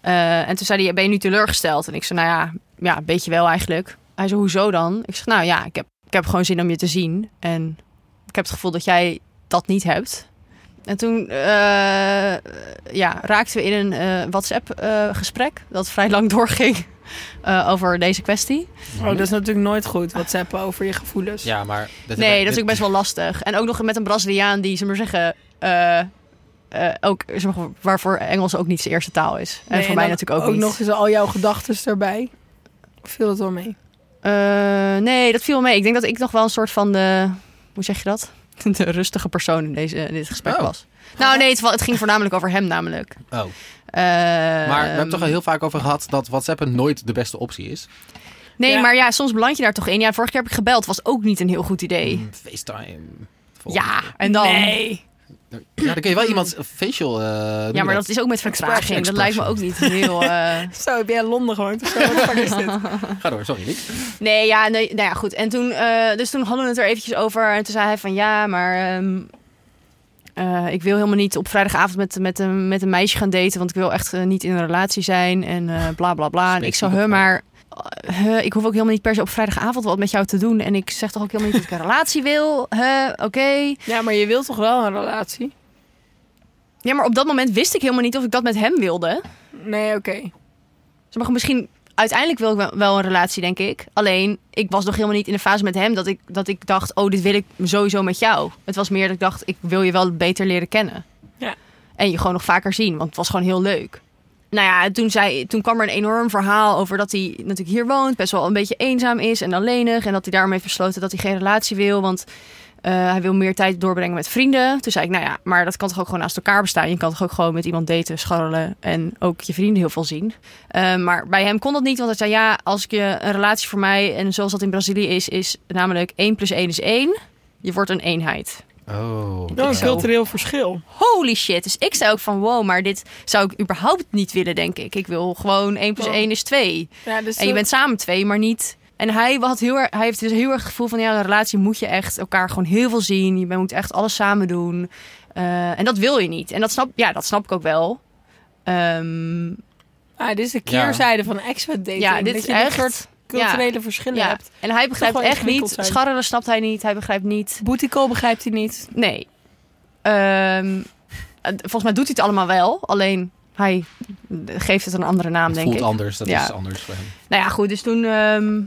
Speaker 2: Eh, en toen zei hij, ben je nu teleurgesteld? En ik zei, nou ja, ja, een beetje wel eigenlijk. Hij zei, hoezo dan? Ik zeg, nou ja, ik heb, ik heb gewoon zin om je te zien. En ik heb het gevoel dat jij dat niet hebt. En toen eh, ja, raakten we in een eh, WhatsApp-gesprek dat vrij lang doorging eh, over deze kwestie.
Speaker 3: Oh, dat is natuurlijk nooit goed. WhatsAppen over je gevoelens.
Speaker 4: Ja, maar... dat-
Speaker 2: Nee, dat is ook best wel lastig. En ook nog met een Braziliaan die, ze maar zeggen, eh, eh, ook, zeg maar, waarvoor Engels ook niet zijn eerste taal is. En
Speaker 3: Nee,
Speaker 2: voor mij
Speaker 3: dan
Speaker 2: natuurlijk ook, niet.
Speaker 3: nog eens al jouw gedachten erbij. viel het wel mee.
Speaker 2: Eh, nee, dat viel wel mee. Ik denk dat ik nog wel een soort van de... Hoe zeg je dat? De rustige persoon in, deze, in dit gesprek
Speaker 4: Oh.
Speaker 2: was. Nou nee, het, wa- het ging voornamelijk over hem namelijk.
Speaker 4: Oh.
Speaker 2: Eh,
Speaker 4: Maar we hebben toch
Speaker 2: Ehm,
Speaker 4: al heel vaak over gehad dat WhatsApp nooit de beste optie is.
Speaker 2: Nee,
Speaker 3: Ja.
Speaker 2: maar ja, soms beland je daar toch in. Ja, vorige keer heb ik gebeld. Was ook niet een heel goed idee.
Speaker 4: Mm, FaceTime. Volgende
Speaker 2: Ja, en dan...
Speaker 3: Nee.
Speaker 4: keer. Ja, dan kun je wel iemands facial... eh, doen
Speaker 2: Ja, maar
Speaker 4: dat.
Speaker 2: dat is ook met vertraging. Dat
Speaker 4: Expression.
Speaker 2: lijkt me ook niet heel... eh,
Speaker 3: Zo, heb jij in Londen gewoond of zo? Wat de fuck is dit?
Speaker 4: Ga door, sorry. Nick.
Speaker 2: Nee, ja, nee, nou ja, goed. En toen, eh, dus toen hadden we het er eventjes over. En toen zei hij van, ja, maar ehm, eh, ik wil helemaal niet op vrijdagavond met, met, een, met een meisje gaan daten. Want ik wil echt eh, niet in een relatie zijn en eh, bla, bla, bla. En ik zou, huh,
Speaker 4: Specifiek
Speaker 2: maar eh, huh, ik hoef ook helemaal niet per se op vrijdagavond wat met jou te doen. En ik zeg toch ook helemaal niet dat ik een relatie wil. Huh, oké.
Speaker 3: Ja, maar je wilt toch wel een relatie?
Speaker 2: Ja, maar op dat moment wist ik helemaal niet of ik dat met hem wilde.
Speaker 3: Nee, oké.
Speaker 2: Ze mag misschien. Uiteindelijk wil ik wel- wel een relatie, denk ik. Alleen, ik was nog helemaal niet in de fase met hem dat ik, dat ik dacht: oh, dit wil ik sowieso met jou. Het was meer dat ik dacht: ik wil je wel beter leren kennen.
Speaker 3: Ja.
Speaker 2: En je gewoon nog vaker zien, want het was gewoon heel leuk. Nou ja, toen, zei, toen kwam er een enorm verhaal over dat hij natuurlijk hier woont, best wel een beetje eenzaam is en alleenig. En dat hij daarom heeft besloten dat hij geen relatie wil, want eh, hij wil meer tijd doorbrengen met vrienden. Toen zei ik, nou ja, maar dat kan toch ook gewoon naast elkaar bestaan. Je kan toch ook gewoon met iemand daten, scharrelen en ook je vrienden heel veel zien. Eh, maar bij hem kon dat niet, want hij zei ja, als ik je een relatie voor mij en zoals dat in Brazilië is, is namelijk 1 plus 1 is 1. Je wordt een eenheid.
Speaker 4: Oh.
Speaker 3: Dat is
Speaker 2: zo.
Speaker 3: een cultureel verschil.
Speaker 2: Holy shit. Dus ik zei ook van wow, maar dit zou ik überhaupt niet willen, denk ik. Ik wil gewoon 1 plus 1 is 2.
Speaker 3: Ja, dus
Speaker 2: En je bent samen twee, maar niet. En hij, had heel erg, hij heeft dus heel erg het gevoel van ja, een relatie moet je echt elkaar gewoon heel veel zien. Je moet echt alles samen doen. Eh, en dat wil je niet. En dat snap, ja, dat snap ik ook wel. Ehm,
Speaker 3: Ah, dit is de keerzijde van expert dating.
Speaker 2: ja, dit
Speaker 3: dat
Speaker 2: is
Speaker 3: je
Speaker 2: echt.
Speaker 3: dit soort culturele verschillen
Speaker 2: ja.
Speaker 3: hebt.
Speaker 2: En hij begrijpt
Speaker 3: Toch wel
Speaker 2: echt
Speaker 3: ingewikkeld
Speaker 2: niet.
Speaker 3: zijn.
Speaker 2: Scharrelen snapt hij niet. Hij begrijpt niet.
Speaker 3: Boetico begrijpt hij niet.
Speaker 2: Nee. Ehm, eh, volgens mij doet hij het allemaal wel. Alleen hij geeft het een andere naam,
Speaker 4: Het
Speaker 2: denk
Speaker 4: voelt
Speaker 2: ik.
Speaker 4: anders, dat
Speaker 2: Ja.
Speaker 4: is anders voor hem.
Speaker 2: Nou ja, goed, dus toen ehm,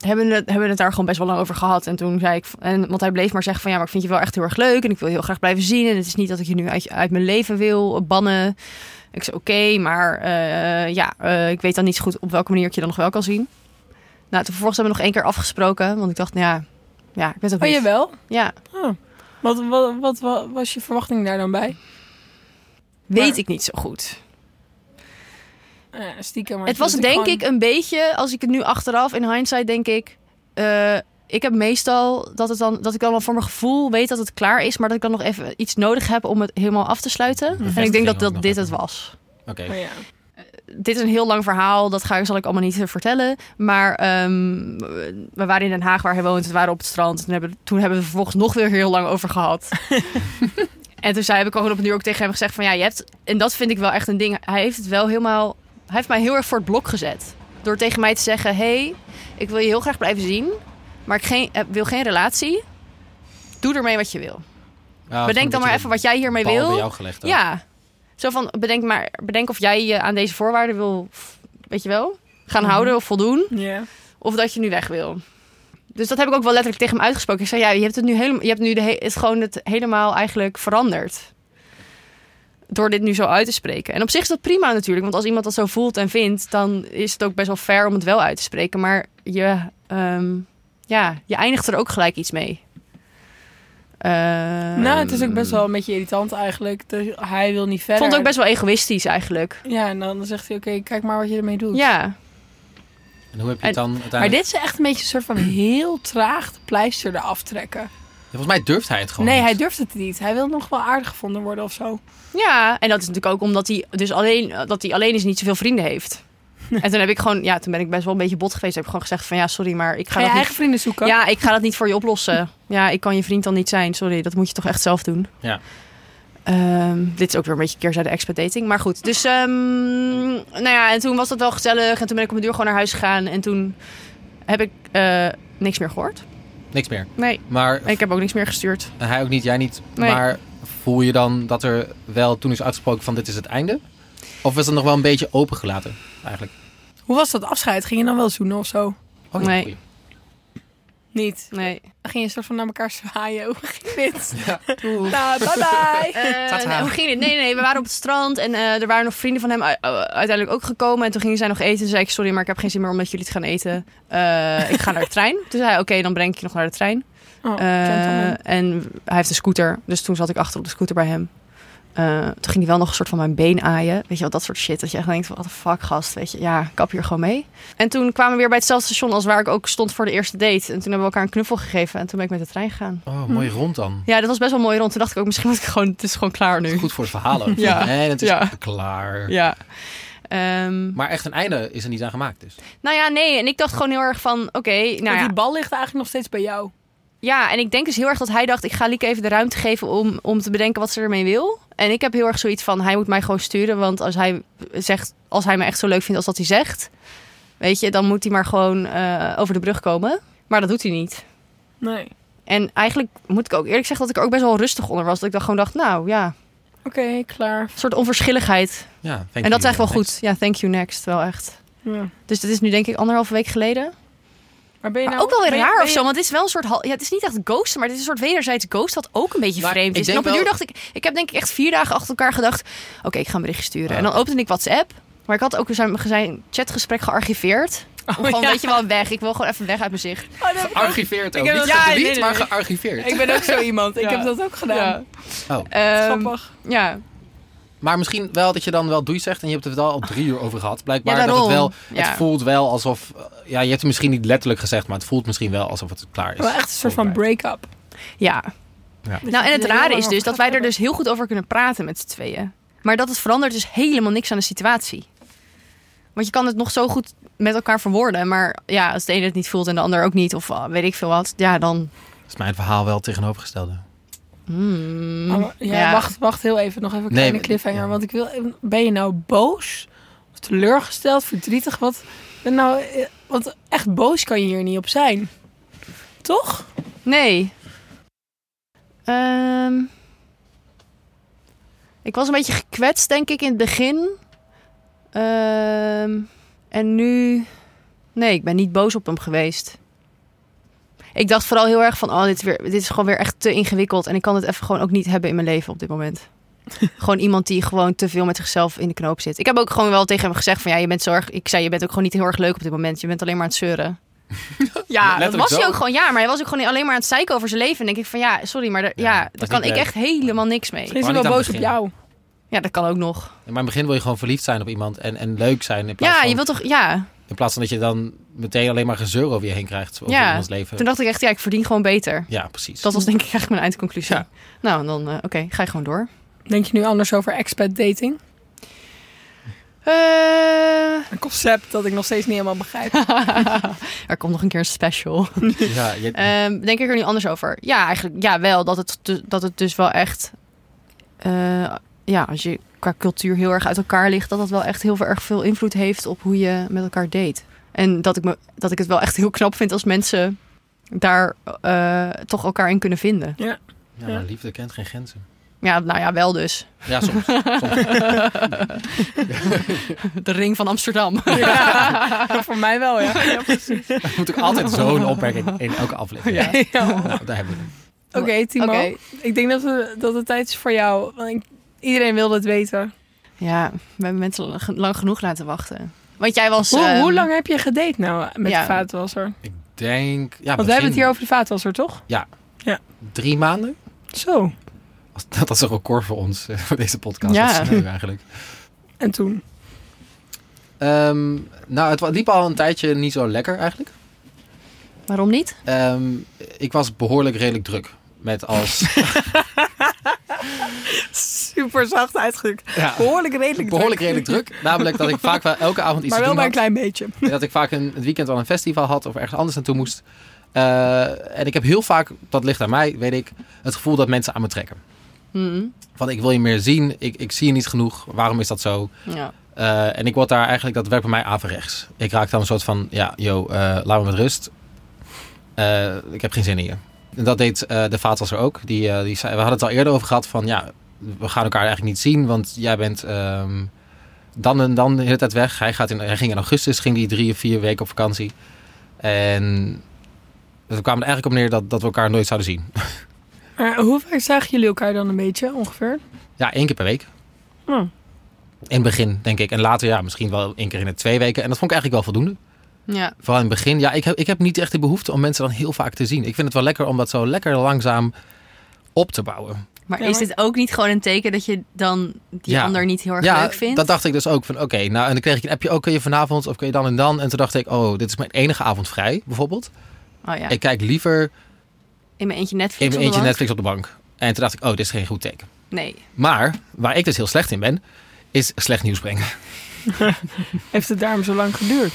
Speaker 2: hebben, we het, hebben we het daar gewoon best wel lang over gehad. En toen zei ik, en, want hij bleef maar zeggen van ja, maar ik vind je wel echt heel erg leuk. En ik wil je heel graag blijven zien. En het is niet dat ik je nu uit, je- uit mijn leven wil eh, bannen. Ik zei oké, maar eh, ja, eh, ik weet dan niet zo goed op welke manier ik je dan nog wel kan zien. Nou, toen vervolgens hebben we nog één keer afgesproken. Want ik dacht, nou ja, ja ik weet het ook
Speaker 3: Oh,
Speaker 2: niet.
Speaker 3: jawel.
Speaker 2: Ja,
Speaker 3: Oh. Wat, wat, wat, wat was je verwachting daar dan bij?
Speaker 2: weet
Speaker 3: Maar-
Speaker 2: ik niet zo goed.
Speaker 3: Ja, Eh, stiekem. Maar
Speaker 2: Het
Speaker 3: je
Speaker 2: was
Speaker 3: doet
Speaker 2: denk ik
Speaker 3: gewoon-
Speaker 2: een beetje, als ik het nu achteraf in hindsight denk ik. eh, ik heb meestal dat, het dan, dat ik dan wel voor mijn gevoel weet dat het klaar is, maar dat ik dan nog even iets nodig heb om het helemaal af te sluiten. En ik denk
Speaker 4: Bevestiging
Speaker 2: dat,
Speaker 4: ook
Speaker 2: dat
Speaker 4: nog
Speaker 2: dit het
Speaker 4: even.
Speaker 2: was.
Speaker 4: Oké.
Speaker 3: Oh, ja.
Speaker 2: Dit is een heel lang verhaal, dat ga, zal ik allemaal niet eh, vertellen. Maar ehm, we waren in Den Haag waar hij woont, we waren op het strand. Toen hebben, toen hebben we het vervolgens nog weer heel lang over gehad. en toen zei, heb ik gewoon op een uur ook tegen hem gezegd van ja, je hebt... En dat vind ik wel echt een ding. Hij heeft het wel helemaal... Hij heeft mij heel erg voor het blok gezet. Door tegen mij te zeggen, hé, hey, ik wil je heel graag blijven zien. Maar ik geen, eh, wil geen relatie. Doe ermee wat je wil.
Speaker 4: Ja,
Speaker 2: Bedenk dan maar even wat jij hiermee
Speaker 4: bal bij
Speaker 2: wil.
Speaker 4: jou gelegd. ook.
Speaker 2: Ja. Zo van, bedenk, maar, bedenk of jij je aan deze voorwaarden wil, f- weet je wel, gaan houden of voldoen.
Speaker 3: Ja.
Speaker 2: Of dat je nu weg wil. Dus dat heb ik ook wel letterlijk tegen hem uitgesproken. Ik zei, ja, je hebt het nu, helemaal, je hebt nu de he- het gewoon het helemaal eigenlijk veranderd. Door dit nu zo uit te spreken. En op zich is dat prima natuurlijk. Want als iemand dat zo voelt en vindt, dan is het ook best wel fair om het wel uit te spreken. Maar je, ehm, ja, je eindigt er ook gelijk iets mee. Eh,
Speaker 3: Nou, het is ook
Speaker 4: Ehm.
Speaker 3: best wel een beetje irritant eigenlijk. Dus hij wil niet
Speaker 2: ik
Speaker 3: verder.
Speaker 2: Ehm, vond het ook best wel egoïstisch eigenlijk.
Speaker 3: Ja, en dan zegt hij, oké, kijk maar wat je ermee doet.
Speaker 2: Ja,
Speaker 4: En hoe heb je het dan uiteindelijk...
Speaker 3: Maar dit is echt een beetje een soort van heel traag de pleister eraf trekken.
Speaker 4: Ja, Volgens mij durft hij het gewoon
Speaker 3: nee,
Speaker 4: niet.
Speaker 3: hij durft het niet. Hij wil nog wel aardig gevonden worden of zo.
Speaker 2: ja. En dat is natuurlijk ook omdat hij dus alleen, dat hij alleen is en niet zoveel vrienden heeft. En toen heb ik gewoon, ja, toen ben ik best wel een beetje bot geweest. Heb ik gewoon gezegd van ja, sorry, maar ik ga,
Speaker 3: Ga je
Speaker 2: dat
Speaker 3: eigen vrienden zoeken?
Speaker 2: niet. Ja, ik ga dat niet voor je oplossen. Ja, ik kan je vriend dan niet zijn. Sorry, dat moet je toch echt zelf doen.
Speaker 4: Ja.
Speaker 2: Ehm, dit is ook weer een beetje keerzijde expert dating. Maar goed, dus ehm, nou ja, en toen was dat wel gezellig. En toen ben ik op mijn deur gewoon naar huis gegaan. En toen heb ik eh, niks meer gehoord.
Speaker 4: Niks meer.
Speaker 2: Nee.
Speaker 4: Maar
Speaker 2: En ik heb ook niks meer gestuurd.
Speaker 4: hij ook niet, jij niet.
Speaker 2: Nee.
Speaker 4: Maar voel je dan dat er wel toen is uitgesproken van dit is het einde? Of is dat nog wel een beetje opengelaten eigenlijk?
Speaker 3: Hoe was dat afscheid? Ging je dan wel zoenen of zo?
Speaker 4: Oh, ja,
Speaker 2: Nee.
Speaker 4: goeie.
Speaker 3: Niet.
Speaker 2: Nee.
Speaker 3: Dan ging je soort van naar elkaar zwaaien. Hoe ging dit?
Speaker 2: Oeh.
Speaker 3: Nou, bye bye.
Speaker 2: Eh,
Speaker 4: Tata.
Speaker 2: nee, hoe ging dit? Nee, nee, we waren op het strand en eh, er waren nog vrienden van hem u- u- uiteindelijk ook gekomen. En toen gingen zij nog eten. Toen zei ik, sorry, maar ik heb geen zin meer om met jullie te gaan eten. Eh, ik ga naar de trein. Toen zei hij, oké, dan breng ik je nog naar de trein.
Speaker 3: Oh,
Speaker 2: Eh,
Speaker 3: gentleman.
Speaker 2: en hij heeft een scooter, dus toen zat ik achter op de scooter bij hem. Eh, toen ging hij wel nog een soort van mijn been aaien. Weet je wel, dat soort shit. Dat je echt denkt, wat de fuck, gast. Weet je, ja, kap hier gewoon mee. En toen kwamen we weer bij hetzelfde station als waar ik ook stond voor de eerste date. En toen hebben we elkaar een knuffel gegeven en toen ben ik met de trein gegaan.
Speaker 4: Oh, mooi rond dan.
Speaker 2: Ja, dat was best wel mooi rond. Toen dacht ik ook, misschien was ik gewoon, het is gewoon klaar nu.
Speaker 4: Goed voor het verhaal ook.
Speaker 2: Ja.
Speaker 4: En het is
Speaker 2: Ja.
Speaker 4: klaar.
Speaker 2: Ja. Ehm,
Speaker 4: Maar echt een einde is er niet aan gemaakt dus.
Speaker 2: nou ja, nee. En ik dacht gewoon heel erg van, oké, nou
Speaker 3: Want
Speaker 2: ja.
Speaker 3: die bal ligt eigenlijk nog steeds bij jou.
Speaker 2: Ja, en ik denk dus heel erg dat hij dacht... ik ga Lieke even de ruimte geven om, om te bedenken wat ze ermee wil. En ik heb heel erg zoiets van... hij moet mij gewoon sturen, want als hij, zegt, als hij me echt zo leuk vindt als dat hij zegt... weet je, dan moet hij maar gewoon eh, over de brug komen. Maar dat doet hij niet.
Speaker 3: Nee.
Speaker 2: En eigenlijk moet ik ook eerlijk zeggen dat ik er ook best wel rustig onder was. Dat ik dan gewoon dacht, nou ja,
Speaker 3: Oké, klaar.
Speaker 2: een soort onverschilligheid.
Speaker 4: Ja, thank
Speaker 2: en dat
Speaker 4: you.
Speaker 2: is echt wel
Speaker 4: Thanks.
Speaker 2: goed. Ja, thank you next, wel echt.
Speaker 3: Ja.
Speaker 2: Dus dat is nu denk ik anderhalve week geleden.
Speaker 3: Maar ben je
Speaker 2: Maar
Speaker 3: nou...
Speaker 2: ook wel weer
Speaker 3: ben je-
Speaker 2: raar
Speaker 3: ben
Speaker 2: of
Speaker 3: je-
Speaker 2: zo, want het is wel een soort... hal- Ja, het is niet echt ghosten, maar het is een soort wederzijds ghost... wat ook een beetje
Speaker 4: Maar
Speaker 2: vreemd
Speaker 4: ik
Speaker 2: is. En
Speaker 4: denk
Speaker 2: op een duur
Speaker 4: wel-
Speaker 2: dacht ik... Ik heb denk ik echt vier dagen achter elkaar gedacht... Oké, ik ga een berichtje sturen.
Speaker 4: Ah.
Speaker 2: En dan opende ik WhatsApp. Maar ik had ook zijn, zijn chatgesprek gearchiveerd. Om gewoon,
Speaker 3: Oh, ja.
Speaker 2: weet je wel, weg. Ik wil gewoon even weg uit mijn zicht.
Speaker 3: Oh, dat heb ik ook-
Speaker 4: Gearchiveerd ook.
Speaker 3: Ik heb dat-
Speaker 4: niet
Speaker 3: Ja,
Speaker 4: gedelete,
Speaker 3: nee, nee,
Speaker 4: maar
Speaker 3: nee.
Speaker 4: gearchiveerd.
Speaker 3: Ik ben ook zo iemand. Ik
Speaker 2: Ja.
Speaker 3: heb dat ook gedaan.
Speaker 2: Ehm,
Speaker 3: Grappig.
Speaker 2: ja.
Speaker 4: Maar misschien wel dat je dan wel doei zegt. En je hebt het wel al drie uur over gehad. Blijkbaar
Speaker 2: Ja,
Speaker 4: dat het wel...
Speaker 2: daarom.
Speaker 4: Het
Speaker 2: Ja.
Speaker 4: voelt wel alsof... eh, Ja, je hebt het misschien niet letterlijk gezegd. Maar het voelt misschien wel alsof het klaar is.
Speaker 3: Wel echt een soort van
Speaker 4: Voorbereid.
Speaker 3: break-up.
Speaker 2: Ja.
Speaker 4: Ja.
Speaker 2: Nou, en het
Speaker 3: Heel lang
Speaker 2: rare is dus
Speaker 3: over
Speaker 2: dat wij er
Speaker 3: hebben.
Speaker 2: dus heel goed over kunnen praten met z'n tweeën. Maar dat het verandert dus helemaal niks aan de situatie. Want je kan het nog zo goed met elkaar verwoorden. Maar ja, als de ene het niet voelt en de ander ook niet. Of ah, weet ik veel wat. Ja, dan...
Speaker 4: Is mijn verhaal wel tegenovergestelde.
Speaker 2: hmm,
Speaker 3: Oh, ja, Wacht, wacht heel even. Nog even een
Speaker 4: Nee,
Speaker 3: kleine
Speaker 4: maar-
Speaker 3: cliffhanger.
Speaker 4: ja.
Speaker 3: Want ik wil... even- Ben je nou boos? Of teleurgesteld? Verdrietig? Wat? Ben nou... eh, Want echt boos kan je hier niet op zijn. Toch?
Speaker 2: Nee. Ehm, ik was een beetje gekwetst, denk ik, in het begin. Ehm, en nu... Nee, ik ben niet boos op hem geweest. Ik dacht vooral heel erg van... Oh, dit, is weer, dit is gewoon weer echt te ingewikkeld. En ik kan het even gewoon ook niet hebben in mijn leven op dit moment. gewoon iemand die gewoon te veel met zichzelf in de knoop zit. Ik heb ook gewoon wel tegen hem gezegd van... Ja, je bent zo erg... Ik zei, je bent ook gewoon niet heel erg leuk op dit moment. Je bent alleen maar aan het zeuren. ja, dat
Speaker 4: Letterlijk
Speaker 2: was hij
Speaker 4: zo.
Speaker 2: ook gewoon. Ja, maar hij was ook gewoon alleen maar aan het zeiken over zijn leven. En denk ik van... Ja, sorry, maar daar,
Speaker 4: Ja,
Speaker 2: ja,
Speaker 4: dat is
Speaker 2: daar kan
Speaker 4: niet
Speaker 2: ik
Speaker 4: leuk.
Speaker 2: echt helemaal niks mee.
Speaker 3: Misschien is
Speaker 4: niet
Speaker 3: hij wel
Speaker 4: aan
Speaker 3: boos op
Speaker 4: beginnen.
Speaker 3: jou.
Speaker 2: Ja, dat kan ook nog.
Speaker 4: Maar in het begin wil je gewoon verliefd zijn op iemand. En, en leuk zijn. In plaats,
Speaker 2: Ja,
Speaker 4: van,
Speaker 2: je wilt toch... Ja,
Speaker 4: in plaats van dat je dan meteen alleen maar gezeur over je heen krijgt. Over
Speaker 2: Ja.
Speaker 4: iemands leven.
Speaker 2: toen dacht ik echt... Ja, ik verdien gewoon beter.
Speaker 4: Ja, precies.
Speaker 2: Dat was denk ik eigenlijk mijn eindconclusie.
Speaker 4: Ja.
Speaker 2: Nou, dan... eh, Oké, ga je gewoon door.
Speaker 3: Denk je nu anders over expat dating?
Speaker 2: Eh,
Speaker 3: Een concept dat ik nog steeds niet helemaal begrijp.
Speaker 2: er komt nog een keer een special.
Speaker 4: Ja, je-
Speaker 2: Ehm, denk ik er nu anders over? Ja, eigenlijk ja, wel. Dat het, du- dat het dus wel echt... eh, ja, als je qua cultuur heel erg uit elkaar ligt... dat dat wel echt heel erg veel invloed heeft op hoe je met elkaar date. En dat ik, me, dat ik het wel echt heel knap vind als mensen daar eh, toch elkaar in kunnen vinden.
Speaker 4: ja, maar liefde kent geen grenzen.
Speaker 2: Ja, nou ja, wel dus.
Speaker 4: Ja, soms. soms.
Speaker 2: De ring van Amsterdam.
Speaker 3: Ja, voor mij wel, ja.
Speaker 4: Er moet ook altijd zo'n opmerking in elke aflevering.
Speaker 2: Ja.
Speaker 4: Nou, daar hebben we hem.
Speaker 3: Oké, Timo.
Speaker 2: Oké.
Speaker 3: Ik denk dat, we, dat het tijd is voor jou. Want ik- iedereen wil dat weten.
Speaker 2: Ja, we hebben mensen lang- lang genoeg laten wachten. Want jij was...
Speaker 3: Hoe,
Speaker 2: ehm,
Speaker 3: hoe lang heb je gedate nou met
Speaker 2: ja.
Speaker 3: de vaatwasser?
Speaker 4: Ik denk... Ja,
Speaker 3: Want we hebben het hier
Speaker 4: begin
Speaker 3: over de vaatwasser, toch?
Speaker 4: Drie maanden?
Speaker 3: Zo.
Speaker 4: Als- Dat is een record voor ons, eh, voor deze podcast.
Speaker 2: Ja.
Speaker 4: Dat is sneu eigenlijk.
Speaker 3: En toen?
Speaker 4: Ehm, nou, het wa- liep al een tijdje niet zo lekker eigenlijk.
Speaker 2: Waarom niet?
Speaker 4: Ehm, ik was behoorlijk redelijk druk. Met als...
Speaker 3: Super zacht uitgedrukt.
Speaker 4: ja,
Speaker 3: Behoorlijk redelijk
Speaker 4: behoorlijk redelijk druk. Namelijk dat ik vaak wel elke avond iets
Speaker 3: Maar
Speaker 4: te
Speaker 3: wel
Speaker 4: doen
Speaker 3: maar een
Speaker 4: had.
Speaker 3: klein beetje.
Speaker 4: En dat ik vaak een, het weekend al een festival had of ergens anders naartoe moest. Eh, en ik heb heel vaak, dat ligt aan mij, weet ik, het gevoel dat mensen aan me trekken.
Speaker 2: Mhm.
Speaker 4: Van ik wil je meer zien, ik, ik zie je niet genoeg, waarom is dat zo?
Speaker 2: Ja.
Speaker 4: Eh, en ik word daar eigenlijk, dat werkt bij mij averechts. Ik raak dan een soort van, ja, yo, eh, laat me met rust. Eh, ik heb geen zin in je. En dat deed eh de vaatwasser ook. Die, eh, die zei, we hadden het al eerder over gehad van, ja, we gaan elkaar eigenlijk niet zien. Want jij bent ehm, dan en dan de hele tijd weg. Hij, gaat in, hij ging in augustus, ging die drie of vier weken op vakantie. En Dus we kwamen er eigenlijk op neer dat, dat we elkaar nooit zouden zien.
Speaker 3: Maar hoe vaak zagen jullie elkaar dan een beetje ongeveer?
Speaker 4: Ja, één keer per week.
Speaker 3: Oh.
Speaker 4: In het begin, denk ik. En later, ja, misschien wel één keer in de twee weken. En dat vond ik eigenlijk wel voldoende.
Speaker 2: Ja.
Speaker 4: Vooral in het begin. Ja, ik heb, ik heb niet echt de behoefte om mensen dan heel vaak te zien. Ik vind het wel lekker om dat zo lekker langzaam op te bouwen.
Speaker 2: Maar
Speaker 3: Ja,
Speaker 2: is
Speaker 3: maar-
Speaker 2: dit ook niet gewoon een teken dat je dan die
Speaker 4: Ja.
Speaker 2: ander niet heel erg
Speaker 4: ja,
Speaker 2: leuk vindt?
Speaker 4: dat dacht ik dus ook. Van oké, nou en dan kreeg ik een appje. Oh, kun je vanavond of kun je dan en dan? En toen dacht ik, oh, dit is mijn enige avond vrij, bijvoorbeeld.
Speaker 2: Oh ja,
Speaker 4: Ik kijk liever
Speaker 2: in mijn eentje
Speaker 4: in
Speaker 2: Netflix
Speaker 4: mijn
Speaker 2: op de
Speaker 4: eentje
Speaker 2: bank?
Speaker 4: Netflix op de bank. En toen dacht ik, oh, dit is geen goed teken.
Speaker 2: Nee.
Speaker 4: Maar, waar ik dus heel slecht in ben, is slecht nieuws brengen.
Speaker 3: Heeft het daarom zo lang geduurd?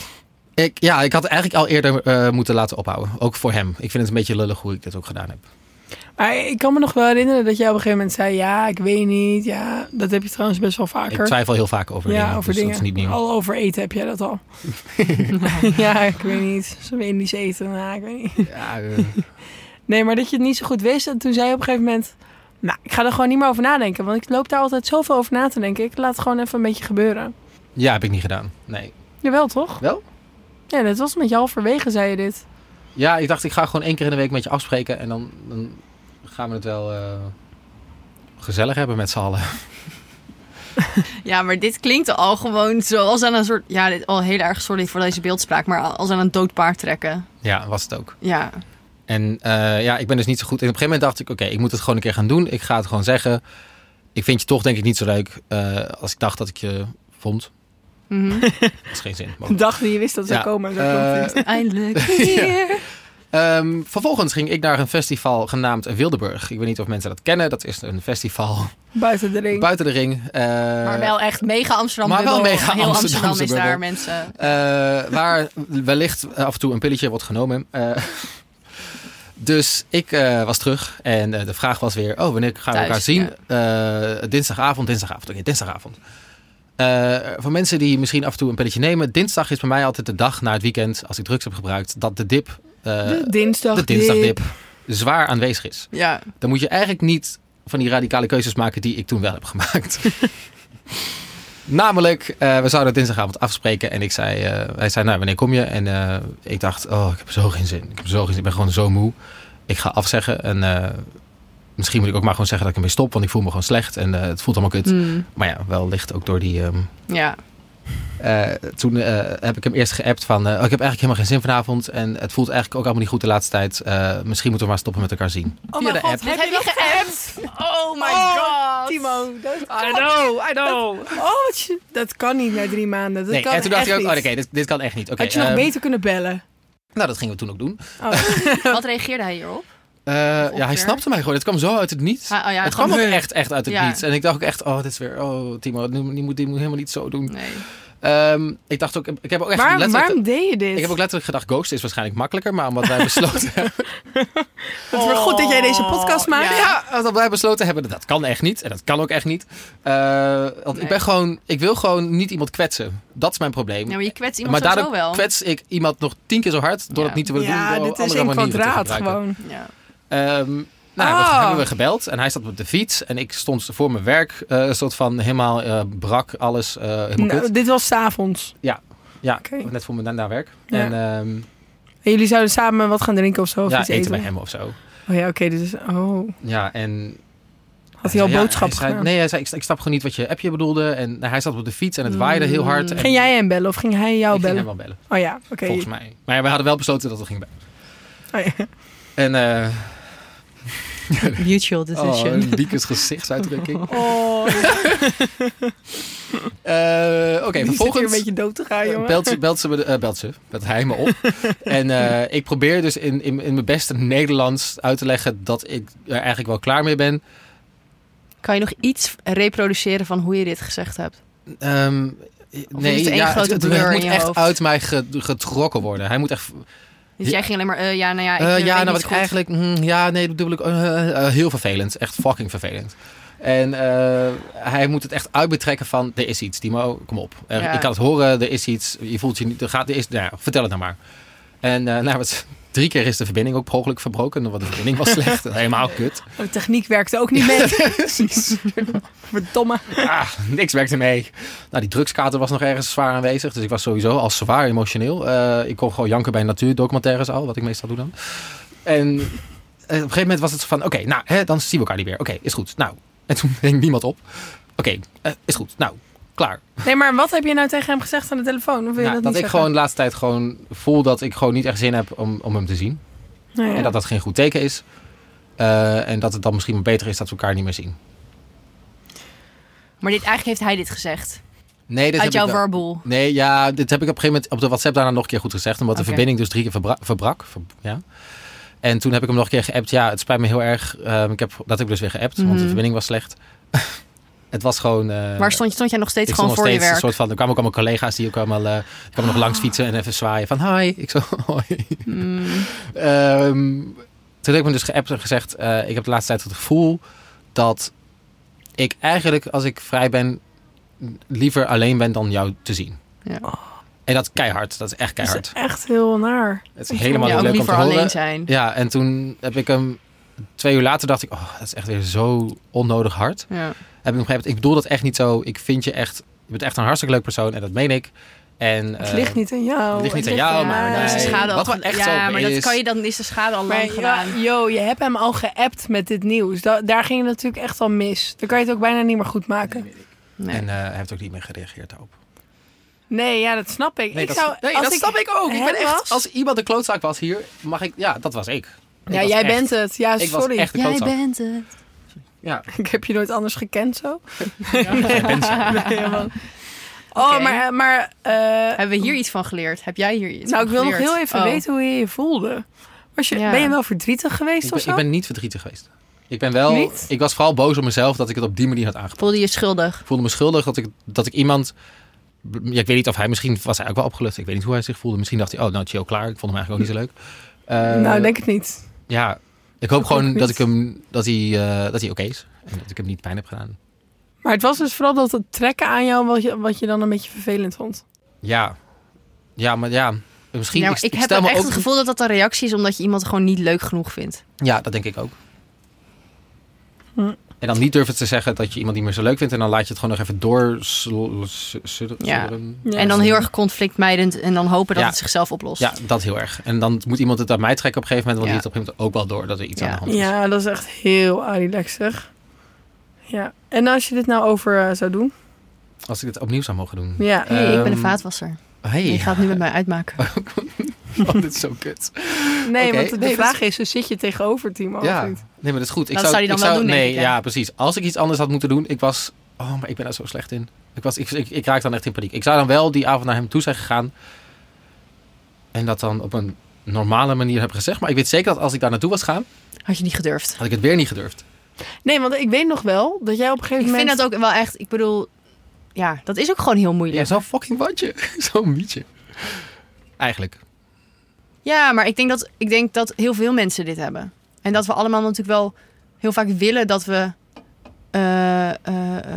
Speaker 4: Ik, ja, ik had het eigenlijk al eerder eh, moeten laten ophouden. Ook voor hem. Ik vind het een beetje lullig hoe ik dit ook gedaan heb.
Speaker 3: Maar ik kan me nog wel herinneren dat jij op een gegeven moment zei... ja, ik weet niet, ja, dat heb je trouwens best wel vaker.
Speaker 4: Ik twijfel heel vaak over
Speaker 3: ja,
Speaker 4: dingen.
Speaker 3: over
Speaker 4: dus
Speaker 3: dingen.
Speaker 4: dat is niet nieuw.
Speaker 3: Al over eten heb jij dat al. ja, ik weet niet. Ze weten niet eten, nou, ik weet niet.
Speaker 4: Ja, eh,
Speaker 3: Nee, maar dat je het niet zo goed wist. En toen zei je op een gegeven moment... Nou, ik ga er gewoon niet meer over nadenken. Want ik loop daar altijd zoveel over na te denken. Ik laat het gewoon even een beetje gebeuren.
Speaker 4: ja, heb ik niet gedaan. Nee.
Speaker 3: Jawel, toch?
Speaker 4: Wel?
Speaker 3: Ja, dat was met je halverwege, zei je dit.
Speaker 4: Ja, ik dacht ik ga gewoon één keer in de week met je afspreken. En dan, dan gaan we het wel eh, gezellig hebben met z'n allen.
Speaker 2: Ja, maar dit klinkt al gewoon zoals aan een soort... Ja, dit, al heel erg sorry voor deze beeldspraak, maar als aan een dood paard trekken.
Speaker 4: Ja, was het ook.
Speaker 2: Ja.
Speaker 4: En eh, ja, ik ben dus niet zo goed. En op een gegeven moment dacht ik, oké, ik moet het gewoon een keer gaan doen. Ik ga het gewoon zeggen. Ik vind je toch denk ik niet zo leuk eh, als ik dacht dat ik je vond.
Speaker 2: Mhm.
Speaker 4: Dat is geen zin. maar
Speaker 3: De dag die je wist dat ze
Speaker 4: Oh. Ja,
Speaker 3: komen. Zo
Speaker 4: eh,
Speaker 3: klopt het.
Speaker 2: Eindelijk weer.
Speaker 4: Ehm, vervolgens ging ik naar een festival genaamd Wildeburg. Ik weet niet of mensen dat kennen. Dat is een festival
Speaker 3: Buiten de ring.
Speaker 4: buiten de ring. eh,
Speaker 2: maar wel echt mega Amsterdam.
Speaker 4: maar wel
Speaker 2: bubbel.
Speaker 4: mega
Speaker 2: Heel Amsterdam
Speaker 4: Amsterdamse
Speaker 2: is daar,
Speaker 4: bubbel.
Speaker 2: mensen.
Speaker 4: eh, waar wellicht af en toe een pilletje wordt genomen. Eh, dus ik eh, was terug en eh, de vraag was weer: Oh, wanneer gaan we
Speaker 2: Thuis,
Speaker 4: elkaar zien? Eh, dinsdagavond, dinsdagavond. Oké, dinsdagavond. Eh, voor mensen die misschien af en toe een pilletje nemen, dinsdag is bij mij altijd de dag na het weekend, als ik drugs heb gebruikt, dat de dip, eh,
Speaker 3: de dinsdag.
Speaker 4: de dinsdagdip, zwaar aanwezig is.
Speaker 2: Ja.
Speaker 4: dan moet je eigenlijk niet van die radicale keuzes maken die ik toen wel heb gemaakt. Namelijk, eh, we zouden dinsdagavond afspreken en ik zei, eh, hij zei, nou, wanneer kom je? En eh, ik dacht, oh, ik heb zo geen zin. Ik heb zo geen zin. Ik ben gewoon zo moe. Ik ga afzeggen en eh, misschien moet ik ook maar gewoon zeggen dat ik ermee stop, want ik voel me gewoon slecht en eh, het voelt allemaal kut.
Speaker 2: Mm.
Speaker 4: Maar ja, wellicht ook door die... ehm,
Speaker 2: Ja.
Speaker 4: eh, toen eh, heb ik hem eerst geappt van, eh, oh, ik heb eigenlijk helemaal geen zin vanavond en het voelt eigenlijk ook allemaal niet goed de laatste tijd. Eh, misschien moeten we maar stoppen met elkaar zien.
Speaker 3: Oh
Speaker 4: Via
Speaker 3: mijn
Speaker 4: de
Speaker 3: god,
Speaker 4: app.
Speaker 3: heb je dat geappt?
Speaker 2: Oh my god.
Speaker 3: Timo, dat,
Speaker 5: I know, I know.
Speaker 3: oh, wat je- dat kan niet na drie maanden. Dat
Speaker 4: nee,
Speaker 3: kan
Speaker 4: en toen dacht
Speaker 3: echt
Speaker 4: ik ook,
Speaker 3: niet.
Speaker 4: oh, oké, dit, dit kan echt niet. Oké,
Speaker 3: Had je nog
Speaker 4: ehm,
Speaker 3: beter kunnen bellen?
Speaker 4: Nou, dat gingen we toen ook doen.
Speaker 3: Oh.
Speaker 2: Wat reageerde hij hierop?
Speaker 4: Eh, ja, hij
Speaker 2: ongeveer?
Speaker 4: snapte mij gewoon. Het kwam zo uit het niets.
Speaker 2: Ah, oh ja,
Speaker 4: het kwam
Speaker 2: gewoon-
Speaker 4: ook echt, echt uit het
Speaker 2: Ja.
Speaker 4: niets. En ik dacht ook echt, oh, dit is weer, oh, Timo, die moet, die moet helemaal niet zo doen.
Speaker 2: Nee.
Speaker 4: Ehm, ik dacht ook, ik heb ook echt
Speaker 3: Waar-
Speaker 4: letterlijk...
Speaker 3: waarom deed je dit?
Speaker 4: Ik heb ook letterlijk gedacht, ghost is waarschijnlijk makkelijker, maar omdat wij besloten hebben...
Speaker 3: Het is wel goed dat jij deze
Speaker 5: Oh,
Speaker 3: podcast maakt.
Speaker 2: Ja.
Speaker 4: Ja, omdat wij besloten hebben, dat kan echt niet. En dat kan ook echt niet. Eh, want ik
Speaker 2: Nee.
Speaker 4: ben gewoon, ik wil gewoon niet iemand kwetsen. Dat is mijn probleem.
Speaker 2: Ja, maar je kwetst
Speaker 4: maar
Speaker 2: iemand
Speaker 4: daardoor
Speaker 2: sowieso wel.
Speaker 4: kwets ik iemand nog tien keer zo hard door
Speaker 2: Ja.
Speaker 4: het niet te willen doen.
Speaker 3: Ja,
Speaker 4: door
Speaker 3: dit is
Speaker 4: andere
Speaker 3: in
Speaker 4: manieren te
Speaker 3: kwadraat
Speaker 4: gebruiken.
Speaker 3: gewoon.
Speaker 2: Ja.
Speaker 4: Ehm nou, we
Speaker 3: Ah.
Speaker 4: hebben we gebeld en hij zat op de fiets en ik stond voor mijn werk, eh, een soort van helemaal eh, brak, alles eh, helemaal
Speaker 3: Nou,
Speaker 4: kut.
Speaker 3: dit was s'avonds.
Speaker 4: Ja,
Speaker 3: oké.
Speaker 4: net voor mijn na- na werk.
Speaker 3: Ja.
Speaker 4: En ehm,
Speaker 3: En jullie zouden samen wat gaan drinken of zo? Of
Speaker 4: ja,
Speaker 3: iets
Speaker 4: eten, bij hem of zo.
Speaker 3: Oh ja, oké. dus, oh.
Speaker 4: Ja, en...
Speaker 3: Had hij al
Speaker 4: ja,
Speaker 3: boodschappen
Speaker 4: hij zei-
Speaker 3: gedaan?
Speaker 4: Nee, hij zei, ik, sta- ik snap gewoon niet wat je appje bedoelde. En nou, hij zat op de fiets en het waaide heel hard. En
Speaker 3: Ging jij hem bellen of ging hij jou
Speaker 4: ik ging
Speaker 3: bellen?
Speaker 4: hem wel bellen,
Speaker 3: Oh ja, oké.
Speaker 4: volgens mij. Maar ja, we hadden wel besloten dat we gingen bellen.
Speaker 3: Oh ja.
Speaker 4: En eh
Speaker 2: Mutual
Speaker 4: oh,
Speaker 2: decision.
Speaker 4: een Liekes gezichtsuitdrukking.
Speaker 3: Oh,
Speaker 4: Eh,
Speaker 3: die
Speaker 4: Oké,
Speaker 3: zit hier een
Speaker 4: vervolgens...
Speaker 3: beetje dood te gaan,
Speaker 4: Eh,
Speaker 3: jongen.
Speaker 4: Belt ze, belt ze, me- eh, belt ze, belt hij me op. en eh, ik probeer dus in, in, in mijn beste Nederlands uit te leggen dat ik er eigenlijk wel klaar mee ben.
Speaker 2: Kan je nog iets reproduceren van hoe je dit gezegd hebt?
Speaker 4: Ehm,
Speaker 2: is het één grote
Speaker 4: het,
Speaker 2: blur
Speaker 4: het
Speaker 2: in
Speaker 4: moet
Speaker 2: je
Speaker 4: echt
Speaker 2: hoofd?
Speaker 4: uit mij ge- getrokken worden. Hij moet echt.
Speaker 2: Dus
Speaker 4: Ja.
Speaker 2: jij ging alleen maar, eh, ja, nou ja, ik
Speaker 4: eh,
Speaker 2: eh,
Speaker 4: ja,
Speaker 2: weet
Speaker 4: nou wat
Speaker 2: niet
Speaker 4: ik
Speaker 2: goed.
Speaker 4: eigenlijk. mm, ja, nee, dat bedoel ik. eh, eh, heel vervelend. Echt fucking vervelend. En eh, hij moet het echt uitbetrekken van er is iets. Timo, kom op. Er-
Speaker 2: Ja.
Speaker 4: Ik kan het horen, er is iets. Je voelt je niet. Er gaat, er is, nou, ja, vertel het nou maar. En eh, nou, wat, drie keer is de verbinding ook per ongeluk verbroken. Want de verbinding was slecht. Helemaal kut.
Speaker 3: De techniek werkte ook niet mee.
Speaker 4: Precies.
Speaker 3: Verdomme.
Speaker 4: Ah, niks werkte mee. Nou, die drugskater was nog ergens zwaar aanwezig. Dus ik was sowieso al zwaar emotioneel. Eh, ik kon gewoon janken bij natuurdocumentaires al, wat ik meestal doe dan. En eh, op een gegeven moment was het zo van, oké, nou, hè, dan zien we elkaar niet meer. Oké, is goed. Nou, en toen hing niemand op. Oké, eh, is goed. Nou, klaar.
Speaker 3: Nee, maar wat heb je nou tegen hem gezegd aan de telefoon? Of wil je dat,
Speaker 4: Nou, dat
Speaker 3: niet
Speaker 4: ik
Speaker 3: zeggen?
Speaker 4: gewoon de laatste tijd gewoon voel dat ik gewoon niet echt zin heb om, om hem te zien.
Speaker 3: Nou ja.
Speaker 4: En dat dat geen goed teken is. Eh, en dat het dan misschien maar beter is dat we elkaar niet meer zien.
Speaker 2: Maar dit, eigenlijk heeft hij dit gezegd.
Speaker 4: Nee,
Speaker 2: uit
Speaker 4: dit heb ik
Speaker 2: jouw
Speaker 4: wel-
Speaker 2: warboel.
Speaker 4: Nee, ja, dit heb ik op een gegeven moment op de WhatsApp daarna nog een keer goed gezegd. Omdat
Speaker 2: Oké.
Speaker 4: de verbinding dus drie keer verbra- verbrak. Ver- ja. En toen heb ik hem nog een keer geappt. Ja, het spijt me heel erg. Ehm, ik heb, dat heb ik dus weer geappt, want
Speaker 2: Mhm.
Speaker 4: de verbinding was slecht. het was gewoon... eh,
Speaker 2: maar stond, stond jij nog steeds
Speaker 4: ik stond
Speaker 2: gewoon
Speaker 4: nog
Speaker 2: voor je
Speaker 4: steeds een
Speaker 2: werk? Ah.
Speaker 4: soort van... Er kwamen ook allemaal collega's die ook allemaal... eh kwamen nog langs fietsen en even zwaaien van hi. Ik zo, hoi.
Speaker 2: Mm.
Speaker 4: Ehm, toen heb ik me dus geappt en gezegd... eh, ik heb de laatste tijd het gevoel dat ik eigenlijk, als ik vrij ben... liever alleen ben dan jou te zien.
Speaker 2: Ja. Dus, eh,
Speaker 4: En dat is keihard. Dat is echt
Speaker 3: Dat
Speaker 4: keihard.
Speaker 3: is echt heel naar.
Speaker 4: Het is helemaal
Speaker 2: ja,
Speaker 4: niet
Speaker 2: ook
Speaker 4: leuk om te
Speaker 2: liever
Speaker 4: horen.
Speaker 2: alleen zijn.
Speaker 4: Ja, en toen heb ik hem... Twee uur later dacht ik... Oh, dat is echt weer zo onnodig hard.
Speaker 2: Ja.
Speaker 4: Heb ik, hem geappt. ik bedoel dat echt niet zo. Ik vind je echt... Je bent echt een hartstikke leuk persoon. En dat meen ik. En,
Speaker 3: Het
Speaker 4: eh,
Speaker 3: ligt niet aan jou.
Speaker 4: het ligt niet aan
Speaker 3: ligt
Speaker 4: jou,
Speaker 3: aan
Speaker 4: maar
Speaker 3: mij.
Speaker 2: Dan is dus de
Speaker 4: nee.
Speaker 2: schade al
Speaker 4: wat wel
Speaker 2: ge-
Speaker 4: echt
Speaker 2: ja,
Speaker 4: zo
Speaker 2: maar dat
Speaker 4: is-
Speaker 2: kan je, dan is de schade al lang
Speaker 3: Maar ja,
Speaker 2: gedaan.
Speaker 3: yo, je hebt hem al geappt met dit nieuws. Da- daar ging het natuurlijk echt al mis. Dan kan je het ook bijna niet meer goed maken.
Speaker 2: Nee.
Speaker 4: En eh, hij heeft ook niet meer gereageerd daarop.
Speaker 3: Nee, ja, dat snap ik. ik
Speaker 4: dat,
Speaker 3: zou,
Speaker 4: nee,
Speaker 3: als
Speaker 4: dat
Speaker 3: ik,
Speaker 4: snap ik ook. Ik
Speaker 3: hem
Speaker 4: ben echt,
Speaker 3: was-
Speaker 4: als iemand de klootzaak was hier, mag ik... Ja, dat was ik. Ik
Speaker 3: ja,
Speaker 4: was
Speaker 3: jij
Speaker 4: echt-
Speaker 3: bent het. Ja,
Speaker 4: Ik was
Speaker 3: sorry.
Speaker 4: echt de klootzak.
Speaker 2: bent het.
Speaker 4: Ja.
Speaker 3: Ik heb je nooit anders gekend zo.
Speaker 4: jij bent het.
Speaker 3: Nee, helemaal. Oh,
Speaker 2: Oké.
Speaker 3: maar, maar eh,
Speaker 2: Hebben we hier iets van geleerd? Heb jij hier iets
Speaker 3: nou, ik
Speaker 2: van
Speaker 3: wil nog
Speaker 2: geleerd?
Speaker 3: heel even
Speaker 2: Oh.
Speaker 3: weten hoe je je voelde. Was je,
Speaker 2: Ja.
Speaker 3: Ben je wel verdrietig geweest
Speaker 4: Ik
Speaker 3: of
Speaker 4: ben,
Speaker 3: zo?
Speaker 4: ik ben niet verdrietig geweest. Ik ben wel...
Speaker 3: Niet?
Speaker 4: Ik was vooral boos op mezelf dat ik het op die manier had aangepakt.
Speaker 2: Voelde je schuldig?
Speaker 4: Ik voelde me schuldig dat ik, dat ik iemand... Ja, ik weet niet of hij... Misschien was hij ook wel opgelucht. Ik weet niet hoe hij zich voelde. Misschien dacht hij, oh, nou, chill, klaar. Ik vond hem eigenlijk ook niet zo leuk. Eh,
Speaker 3: nou, denk het niet.
Speaker 4: Ja, ik hoop
Speaker 3: Dat ook
Speaker 4: gewoon
Speaker 3: niet.
Speaker 4: dat, ik hem, dat hij, eh, dat hij oké is. En dat ik hem niet pijn heb gedaan.
Speaker 3: Maar het was dus vooral dat het trekken aan jou wat je, wat je dan een beetje vervelend vond.
Speaker 4: Ja. Ja, maar ja. Misschien...
Speaker 2: Ja, maar
Speaker 4: ik,
Speaker 2: Nou, ik
Speaker 4: ik
Speaker 2: heb
Speaker 4: stel me
Speaker 2: echt
Speaker 4: ook...
Speaker 2: het gevoel dat dat een reactie is omdat je iemand gewoon niet leuk genoeg vindt.
Speaker 4: Ja, dat denk ik ook.
Speaker 3: Hm.
Speaker 4: En dan niet durven te zeggen dat je iemand niet meer zo leuk vindt. En dan laat je het gewoon nog even doorsudderen.
Speaker 2: Ja. En dan heel erg conflictmijdend en dan hopen dat
Speaker 4: Ja.
Speaker 2: het zichzelf oplost.
Speaker 4: Ja, dat heel erg. En dan moet iemand het aan mij trekken op een gegeven moment.
Speaker 2: Ja.
Speaker 4: Want die heeft op een gegeven moment ook wel door dat er iets
Speaker 2: Ja.
Speaker 4: aan de hand is.
Speaker 3: Ja, dat is echt heel arileksig. Ja. En als je dit nou over eh, zou doen?
Speaker 4: Als ik het opnieuw zou mogen doen.
Speaker 3: Ja.
Speaker 2: hey, ik ben een
Speaker 4: Ehm,
Speaker 2: vaatwasser.
Speaker 4: Hey.
Speaker 2: Je gaat het nu met mij uitmaken.
Speaker 4: Oh, dit is zo kut.
Speaker 3: Nee,
Speaker 4: Eh, Oké.
Speaker 3: want de
Speaker 4: Nee, dat
Speaker 3: vraag is, dus zit je tegenover Timo
Speaker 4: ja.
Speaker 3: of
Speaker 4: Nee,
Speaker 3: niet?
Speaker 4: maar dat is goed. Ik
Speaker 2: Dat zou hij dan
Speaker 4: ik
Speaker 2: wel doen,
Speaker 4: Nee,
Speaker 2: denk ik, ja.
Speaker 4: ja. precies. Als ik iets anders had moeten doen, ik was... Oh, maar ik ben daar zo slecht in. Ik, was, ik, ik, ik raak dan echt in paniek. Ik zou dan wel die avond naar hem toe zijn gegaan. En dat dan op een normale manier heb gezegd. Maar ik weet zeker dat als ik daar naartoe was gaan,
Speaker 2: Had je niet gedurfd.
Speaker 4: had ik het weer niet gedurfd.
Speaker 3: Nee, want ik weet nog wel dat jij op een
Speaker 2: Ik
Speaker 3: gegeven moment...
Speaker 2: vind dat ook wel echt, ik bedoel, ja, dat is ook gewoon heel
Speaker 4: Ja,
Speaker 2: moeilijk.
Speaker 4: zo'n fucking watje. zo'n mietje. Eigenlijk.
Speaker 2: Ja, maar ik denk, dat, ik denk dat heel veel mensen dit hebben. En dat we allemaal natuurlijk wel heel vaak willen dat we eh, eh,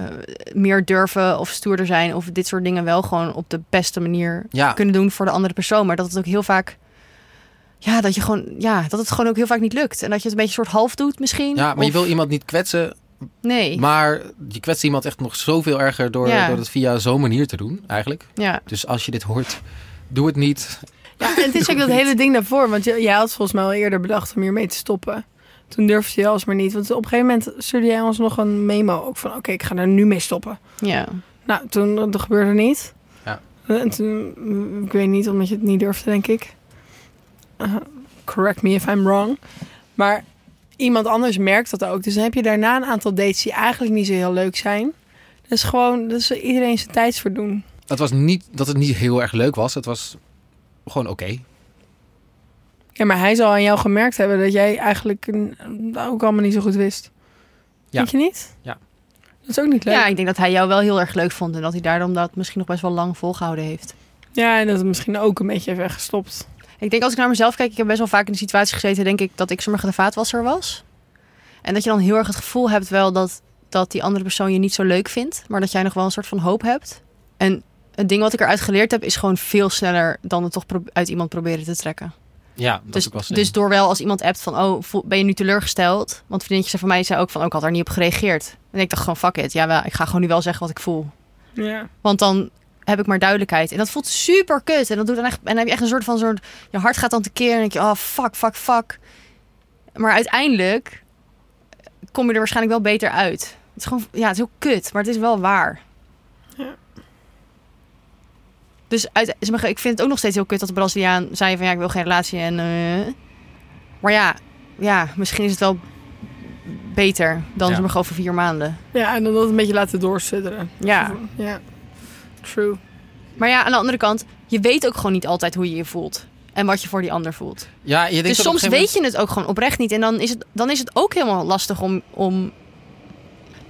Speaker 2: eh, meer durven of stoerder zijn. Of dit soort dingen wel gewoon op de beste manier
Speaker 4: Ja.
Speaker 2: kunnen doen voor de andere persoon. Maar dat het ook heel vaak. Ja, dat je gewoon. Ja, dat het gewoon ook heel vaak niet lukt. En dat je het een beetje soort half doet misschien.
Speaker 4: Ja, maar je
Speaker 2: Of-
Speaker 4: wil iemand niet kwetsen.
Speaker 2: Nee.
Speaker 4: Maar je kwetst iemand echt nog zoveel erger door,
Speaker 2: Ja.
Speaker 4: door het via zo'n manier te doen, eigenlijk.
Speaker 2: Ja.
Speaker 4: Dus als je dit hoort, doe het niet.
Speaker 3: Ja, en het is ook dat hele ding daarvoor. Want j- jij had volgens mij al eerder bedacht om hiermee te stoppen. Toen durfde je alsmaar niet. Want op een gegeven moment stuurde jij ons nog een memo. Ook van, oké, ik ga er nu mee stoppen.
Speaker 2: Ja.
Speaker 3: Nou, toen dat gebeurde niet. Eh,
Speaker 4: Ja.
Speaker 3: En toen, mm, ik weet niet, omdat je het niet durfde, denk ik. Uh, correct me if I'm wrong. Maar iemand anders merkt dat ook. Dus dan heb je daarna een aantal dates die eigenlijk niet zo heel leuk zijn. Dat is gewoon, dat is iedereen zijn tijdsverdoen.
Speaker 4: Het was niet dat het niet heel erg leuk was. Het was gewoon oké.
Speaker 3: Ja, maar hij zal aan jou gemerkt hebben dat jij eigenlijk mm, ook allemaal niet zo goed wist.
Speaker 4: Ja.
Speaker 3: Denk je niet?
Speaker 4: Ja.
Speaker 3: Dat is ook niet leuk.
Speaker 2: ja,
Speaker 3: Ja,
Speaker 2: ik denk dat hij jou wel heel erg leuk vond. En dat hij daarom dat misschien nog best wel lang volgehouden heeft.
Speaker 3: en dat het misschien ook een beetje heeft weggestopt.
Speaker 2: Ik denk als ik naar mezelf kijk, ik heb best wel vaak in de situatie gezeten, denk ik, dat ik sommige de vaatwasser was. En dat je dan heel erg het gevoel hebt wel dat, dat die andere persoon je niet zo leuk vindt, maar dat jij nog wel een soort van hoop hebt. En het ding wat ik eruit geleerd heb, is gewoon veel sneller dan het toch pro- uit iemand proberen te trekken.
Speaker 4: Ja, dat is
Speaker 2: Dus,
Speaker 4: ook wel slim.
Speaker 2: dus door wel als iemand appt van, oh, voel- ben je nu teleurgesteld? Want vriendinnetjes van mij zei ook van, oh, ik had daar niet op gereageerd. En ik dacht gewoon, fuck it, ja, wel, ik ga gewoon nu wel zeggen wat ik voel.
Speaker 3: Ja.
Speaker 2: Want dan heb ik maar duidelijkheid. En dat voelt super kut. En, dat doet dan echt, en dan heb je echt een soort van... Soort, je hart gaat dan tekeer en dan denk je... Oh, fuck, fuck, fuck. Maar uiteindelijk kom je er waarschijnlijk wel beter uit. Het is gewoon, ja, het is heel kut, maar het is wel waar.
Speaker 3: Ja.
Speaker 2: Dus uit, ze mag- ik vind het ook nog steeds heel kut dat de Braziliaan zei van ja, ik wil geen relatie en. eh, maar ja, ja, misschien is het wel beter dan
Speaker 4: Ja.
Speaker 2: ze mag over vier maanden.
Speaker 3: Ja, en dan dat een beetje laten doorsudderen.
Speaker 2: Ja.
Speaker 3: Ja. True.
Speaker 2: Maar ja, aan de andere kant, je weet ook gewoon niet altijd hoe je je voelt. En wat je voor die ander voelt.
Speaker 4: Ja, je denkt
Speaker 2: Dus
Speaker 4: dat op een
Speaker 2: soms
Speaker 4: gegeven
Speaker 2: weet je het ook gewoon oprecht niet. En dan is het, dan is het ook helemaal lastig om, om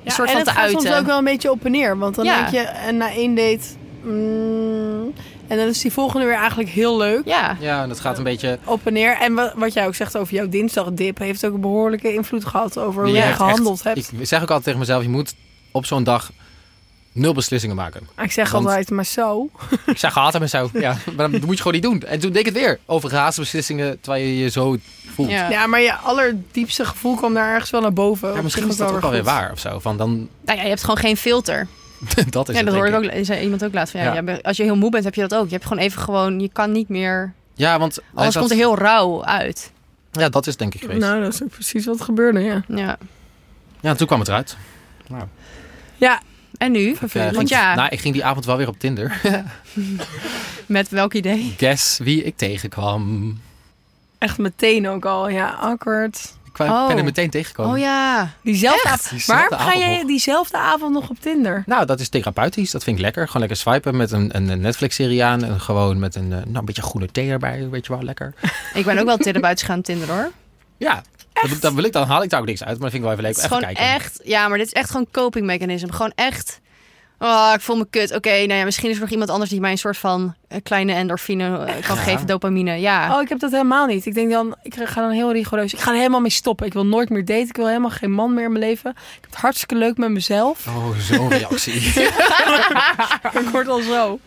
Speaker 3: Ja,
Speaker 2: soort
Speaker 3: en
Speaker 2: van
Speaker 3: het
Speaker 2: te
Speaker 3: gaat soms
Speaker 2: uiten.
Speaker 3: ook wel een beetje op en neer. Want dan
Speaker 2: Ja.
Speaker 3: denk je, en na één date... mm, en dan is die volgende weer eigenlijk heel leuk.
Speaker 2: ja,
Speaker 4: moment- Ja, en dat gaat een beetje...
Speaker 3: Op en neer. En wat, wat jij ook zegt over jouw dinsdagdip... heeft ook een behoorlijke invloed gehad over hoe
Speaker 4: je
Speaker 3: jij
Speaker 4: hebt
Speaker 3: gehandeld
Speaker 4: echt-
Speaker 3: hebt.
Speaker 4: Ik zeg ook altijd tegen mezelf, je moet op zo'n dag nul beslissingen maken.
Speaker 3: Ik, zeg
Speaker 4: want-
Speaker 3: altijd maar zo.
Speaker 4: Ik zeg altijd maar zo. Ja, maar dat moet je gewoon niet doen. En toen deed ik het weer. Over gehaaste beslissingen, terwijl je je zo voelt.
Speaker 2: ja.
Speaker 3: Ja. maar je allerdiepste gevoel kwam daar ergens wel naar boven.
Speaker 4: Ja,
Speaker 3: Op
Speaker 4: misschien
Speaker 3: zich
Speaker 4: is dat ook
Speaker 3: wel
Speaker 4: alweer
Speaker 3: goed.
Speaker 4: waar of zo. Van dan,
Speaker 2: Nou ja, je hebt gewoon geen filter.
Speaker 4: dat is
Speaker 2: ja,
Speaker 4: het,
Speaker 2: dat
Speaker 4: denk
Speaker 2: hoorde ik
Speaker 4: ik.
Speaker 2: ook, zei iemand ook laatst. Van, ja,
Speaker 4: Ja.
Speaker 2: jij bent- als je heel moe bent, heb je dat ook. Je hebt gewoon even gewoon, je kan niet meer.
Speaker 4: Ja, want hij
Speaker 2: Alles
Speaker 4: zat-
Speaker 2: komt er heel rauw uit.
Speaker 4: ja, dat is denk ik geweest.
Speaker 3: Nou, dat is ook precies wat gebeurde, ja.
Speaker 2: Ja.
Speaker 4: Ja, toen kwam het eruit.
Speaker 3: Ja,
Speaker 2: En nu?
Speaker 4: Ik, eh,
Speaker 2: Want
Speaker 4: ging-
Speaker 2: ja,
Speaker 4: nou, ik ging die avond wel weer op Tinder.
Speaker 2: met welk idee?
Speaker 4: Guess wie ik tegenkwam.
Speaker 3: echt meteen ook al. Ja, awkward.
Speaker 4: Ik kwam-
Speaker 2: Oh.
Speaker 4: ben er meteen tegengekomen.
Speaker 2: Oh ja.
Speaker 3: Diezelfde avond.
Speaker 4: Diezelfde
Speaker 3: Waarom ga
Speaker 4: avond
Speaker 3: jij
Speaker 4: nog.
Speaker 3: diezelfde avond nog op Tinder?
Speaker 4: Nou, dat is therapeutisch. Dat vind ik lekker. Gewoon lekker swipen met een, een Netflix-serie aan. En gewoon met een, eh, nou, een beetje groene thee erbij. Weet je wel, lekker.
Speaker 2: Ik ben ook wel therapeutisch gaan Tinder hoor.
Speaker 4: Ja, dat, dat wil ik, dan haal ik daar ook niks uit. Maar dat vind ik wel even leuk.
Speaker 2: Het is
Speaker 4: even
Speaker 2: gewoon
Speaker 4: kijken.
Speaker 2: echt, ja, maar dit is echt gewoon coping mechanism. Gewoon echt, oh, ik voel me kut. Oké, nou ja, misschien is er nog iemand anders die mij een soort van eh, kleine endorfine eh, kan
Speaker 4: Ja.
Speaker 2: geven, dopamine. Ja.
Speaker 3: Oh, ik heb dat helemaal niet. Ik denk dan, ik ga dan heel rigoureus. Ik ga er helemaal mee stoppen. Ik wil nooit meer daten. Ik wil helemaal geen man meer in mijn leven. Ik heb het hartstikke leuk met mezelf.
Speaker 4: Oh, zo'n reactie.
Speaker 3: ik word al zo.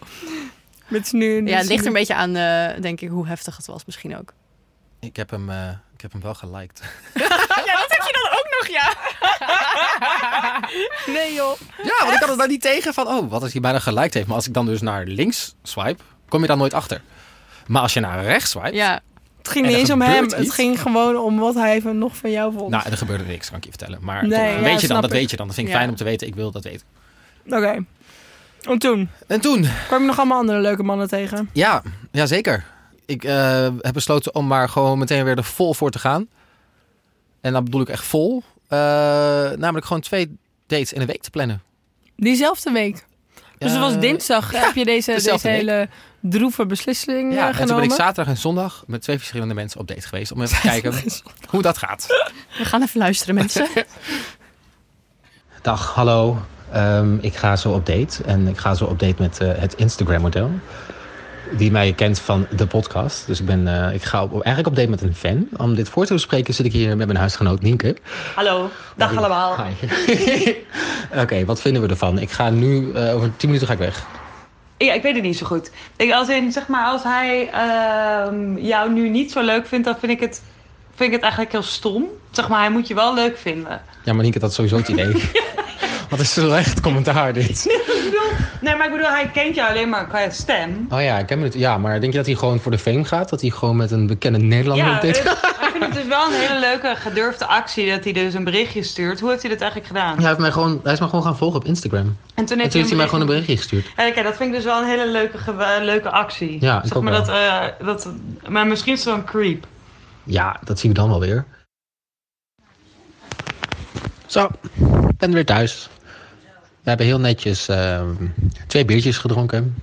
Speaker 3: Met nu.
Speaker 2: ja, het ligt er een beetje aan, eh, denk ik, hoe heftig het was misschien ook.
Speaker 4: ik, heb hem, eh, ik heb hem wel geliked.
Speaker 3: Nee, joh.
Speaker 4: Ja, want ik had het daar niet tegen van... Oh, wat als hij bijna geliked heeft. Maar als ik dan dus naar links swipe, kom je dan nooit achter. Maar als je naar rechts swipe...
Speaker 2: Ja.
Speaker 3: Het ging
Speaker 4: En
Speaker 3: niet
Speaker 4: er
Speaker 3: eens om
Speaker 4: gebeurt
Speaker 3: hem.
Speaker 4: iets.
Speaker 3: Het ging gewoon om wat hij van nog van jou vond.
Speaker 4: Nou, er gebeurde niks, kan ik je vertellen. Maar
Speaker 3: Nee,
Speaker 4: toch,
Speaker 3: ja,
Speaker 4: weet je dan,
Speaker 3: snap
Speaker 4: dat
Speaker 3: ik.
Speaker 4: weet je dan. Dat vind ik
Speaker 2: Ja.
Speaker 4: fijn om te weten. Ik wil dat weten.
Speaker 3: Oké. En toen
Speaker 4: En toen,
Speaker 3: kwam je nog allemaal andere leuke mannen tegen.
Speaker 4: ja, ja zeker. Ik eh, heb besloten om maar gewoon meteen weer er vol voor te gaan. En dan bedoel ik echt vol. Eh, namelijk gewoon twee dates in een week te plannen. Eh,
Speaker 3: Diezelfde week. Dus het
Speaker 4: Ja,
Speaker 3: was dinsdag. Heb je deze, deze
Speaker 4: dezelfde week.
Speaker 3: hele droeve beslissing
Speaker 4: Ja,
Speaker 3: eh,
Speaker 4: en toen ben ik
Speaker 3: genomen?
Speaker 4: zaterdag en zondag met twee verschillende mensen op date geweest. Om even te kijken hoe dat gaat.
Speaker 2: We gaan even luisteren, mensen.
Speaker 4: Dag, hallo. Ehm, ik ga zo op date. En ik ga zo op date met eh, het Instagram-model. Die mij kent van de podcast. Dus ik, ben, eh, ik ga op, eigenlijk op date met een fan. Om dit voor te bespreken zit ik hier met mijn huisgenoot Nienke.
Speaker 7: Hallo, dag allemaal.
Speaker 4: Hi. Oké, wat vinden we ervan? Ik ga nu, eh, over 10 minuten ga ik weg.
Speaker 7: Ja, ik weet het niet zo goed. Ik, als, in, zeg maar, als hij ehm, jou nu niet zo leuk vindt, dan vind ik, het, vind ik het eigenlijk heel stom. Zeg maar, hij moet je wel leuk vinden.
Speaker 4: Ja, maar Nienke, dat is sowieso het idee. Wat een slecht commentaar dit.
Speaker 7: ik bedoel, nee, maar ik bedoel, hij kent jou alleen maar qua stem.
Speaker 4: Oh ja, ik ken het. Ja, maar denk je dat hij gewoon voor de fame gaat? Dat hij gewoon met een bekende Nederlander op date gaat?
Speaker 7: het- maar ik vind het dus wel een hele leuke gedurfde actie dat hij dus een berichtje stuurt. Hoe heeft hij dat eigenlijk gedaan?
Speaker 4: Hij, heeft mij gewoon, hij is mij gewoon gaan volgen op Instagram.
Speaker 7: En toen
Speaker 4: En
Speaker 7: heeft
Speaker 4: toen heeft hij mij gewoon een
Speaker 7: berichtje-
Speaker 4: berichtje gestuurd.
Speaker 7: Ja, kijk, dat vind ik dus wel een hele leuke, ge- eh, leuke actie.
Speaker 4: Ja, ik
Speaker 7: zeg
Speaker 4: ook
Speaker 7: maar,
Speaker 4: wel.
Speaker 7: dat, eh, dat, maar misschien is het wel een creep.
Speaker 4: Ja, dat zien we dan wel weer. Zo, ik ben weer thuis. We hebben heel netjes ehm, twee biertjes gedronken.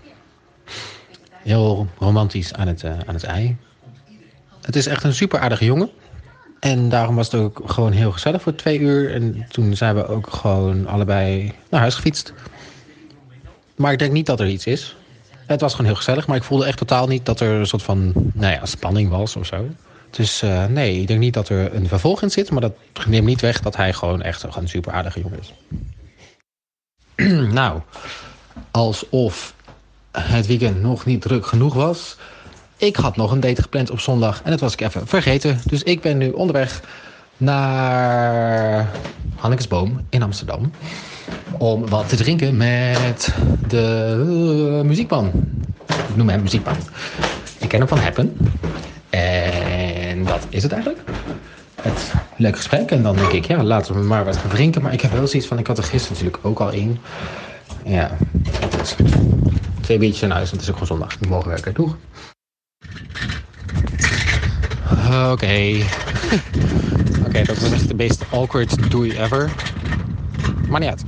Speaker 4: Heel romantisch aan het, eh, aan het ei. Het is echt een super aardige jongen. En daarom was het ook gewoon heel gezellig voor twee uur. En toen zijn we ook gewoon allebei naar huis gefietst. Maar ik denk niet dat er iets is. Het was gewoon heel gezellig, maar ik voelde echt totaal niet dat er een soort van nou ja, spanning was of zo. Dus eh, nee, ik denk niet dat er een vervolg in zit. Maar dat neemt niet weg dat hij gewoon echt een gewoon super aardige jongen is. nou, alsof het weekend nog niet druk genoeg was. Ik had nog een date gepland op zondag en dat was ik even vergeten. Dus ik ben nu onderweg naar Hannekesboom in Amsterdam. Om wat te drinken met de eh, muziekman. Ik noem hem muziekman. Ik ken hem van Happen. En dat is het eigenlijk. het leuk gesprek. En dan denk ik, ja, laten we maar wat gaan drinken. Maar ik heb wel zoiets van, ik had er gisteren natuurlijk ook al één. Ja, het is twee biertjes naar huis, want het is ook gewoon zondag. We mogen werken, doeg. Oké. Oké, dat was echt de meest awkward doei ever. Maar niet uit.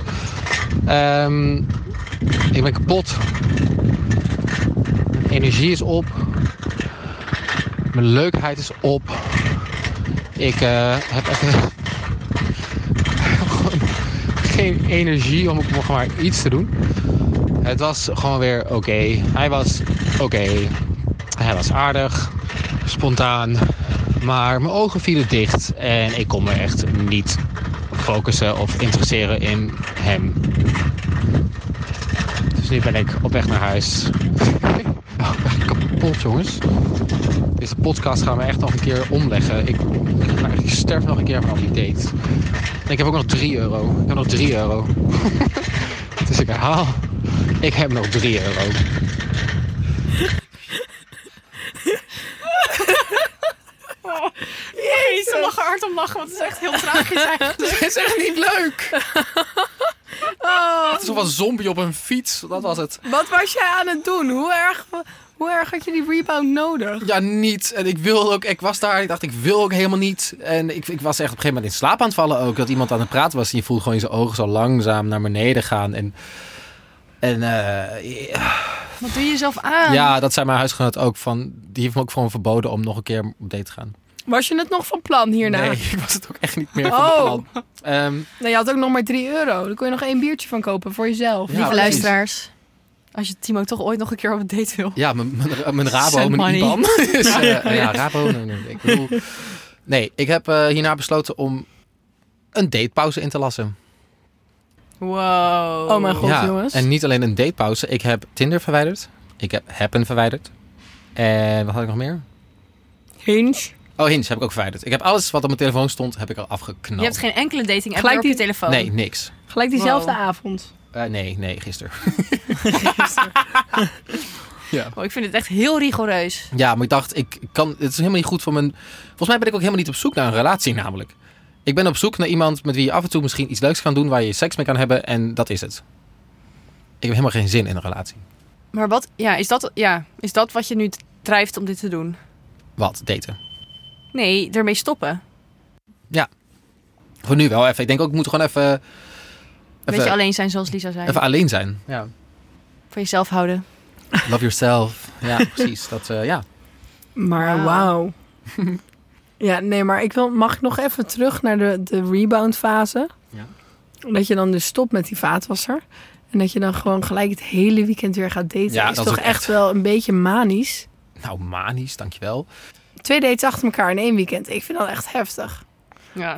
Speaker 4: Ehm, ik ben kapot. Mijn energie is op. Mijn leukheid is op. Ik eh, heb even gewoon geen energie om nog maar iets te doen. Het was gewoon weer oké. Hij was oké. Hij was aardig, spontaan. Maar mijn ogen vielen dicht en ik kon me echt niet focussen of interesseren in hem. Dus nu ben ik op weg naar huis. Oh, ik ben kapot, jongens. Deze podcast gaan we echt nog een keer omleggen. Ik, ik, ga- ik sterf nog een keer van die date. En ik heb ook nog 3 euro. Ik heb nog 3 euro. dus ik herhaal. Ik heb nog 3 euro.
Speaker 2: Jezus, ik mag er hard om lachen, want het is echt heel tragisch eigenlijk.
Speaker 3: is echt niet leuk.
Speaker 4: Alsof een zombie op een fiets. Dat was het.
Speaker 3: Wat was jij aan het doen? Hoe erg, hoe erg had je die rebound nodig?
Speaker 4: Ja, niet. En ik wil ook, ik was daar en ik dacht, ik wil ook helemaal niet. En ik, ik was echt op een gegeven moment in slaap aan het vallen ook. Dat iemand aan het praten was. En je voelde gewoon in zijn ogen zo langzaam naar beneden gaan. En, en eh,
Speaker 2: Wat doe je jezelf aan?
Speaker 4: ja, dat zei mijn huisgenoot ook van, die heeft me ook gewoon verboden om nog een keer op date te gaan.
Speaker 3: Was je het nog van plan hierna?
Speaker 4: Nee, ik was het ook echt niet meer van
Speaker 3: Oh.
Speaker 4: plan. Ehm,
Speaker 3: Nou, je had ook nog maar 3 euro. Daar kon je nog één biertje van kopen voor jezelf.
Speaker 4: Ja,
Speaker 2: Lieve
Speaker 4: precies.
Speaker 2: luisteraars, als je Timo toch ooit nog een keer op een date wil.
Speaker 4: Ja, mijn, mijn, mijn Rabo,
Speaker 2: Send
Speaker 4: mijn
Speaker 2: money.
Speaker 4: IBAN. Is, eh, ja. Rabo. nee, nee, ik bedoel... Nee, ik heb eh, hierna besloten om een datepauze in te lassen.
Speaker 2: Wow.
Speaker 3: Oh mijn god,
Speaker 4: ja,
Speaker 3: jongens.
Speaker 4: En niet alleen een datepauze. Ik heb Tinder verwijderd. Ik heb Happen verwijderd. En wat had ik nog meer?
Speaker 3: Hinge.
Speaker 4: Oh, Hinge heb ik ook verwijderd. Ik heb alles wat op mijn telefoon stond, heb ik al afgeknald.
Speaker 2: Je hebt geen enkele dating app
Speaker 3: Gelijk
Speaker 2: meer op je
Speaker 3: die-
Speaker 2: telefoon.
Speaker 4: Nee, niks.
Speaker 3: Gelijk diezelfde
Speaker 2: Wow.
Speaker 3: avond.
Speaker 4: Eh, nee, nee, gisteren.
Speaker 2: Oh, ik vind het echt heel rigoureus.
Speaker 4: Ja, maar ik dacht, ik kan, het is helemaal niet goed voor mijn... Volgens mij ben ik ook helemaal niet op zoek naar een relatie namelijk. Ik ben op zoek naar iemand met wie je af en toe misschien iets leuks kan doen... waar je seks mee kan hebben en dat is het. Ik heb helemaal geen zin in een relatie.
Speaker 2: Maar wat, ja, is dat, ja, is dat wat je nu t- drijft om dit te doen?
Speaker 4: Wat? Daten.
Speaker 2: Nee, ermee stoppen.
Speaker 4: Voor nu wel even. Ik denk ook, ik moet gewoon even... Even,
Speaker 2: Weet je, alleen zijn zoals Lisa zei.
Speaker 4: even alleen zijn. Ja.
Speaker 2: Van jezelf houden.
Speaker 4: Love yourself. Ja, precies. Dat, eh, ja.
Speaker 3: Maar
Speaker 2: Wauw.
Speaker 3: wauw. ja, nee, maar ik wil, mag ik nog even terug naar de, de rebound fase?
Speaker 4: Ja.
Speaker 3: Dat je dan dus stopt met die vaatwasser. En dat je dan gewoon gelijk het hele weekend weer gaat daten.
Speaker 4: Ja,
Speaker 3: is
Speaker 4: dat is
Speaker 3: toch
Speaker 4: ook
Speaker 3: echt...
Speaker 4: echt-
Speaker 3: wel een beetje manisch.
Speaker 4: Nou, manisch, dankjewel.
Speaker 3: Twee dates achter elkaar in één weekend. Ik vind dat echt heftig.
Speaker 2: Ja.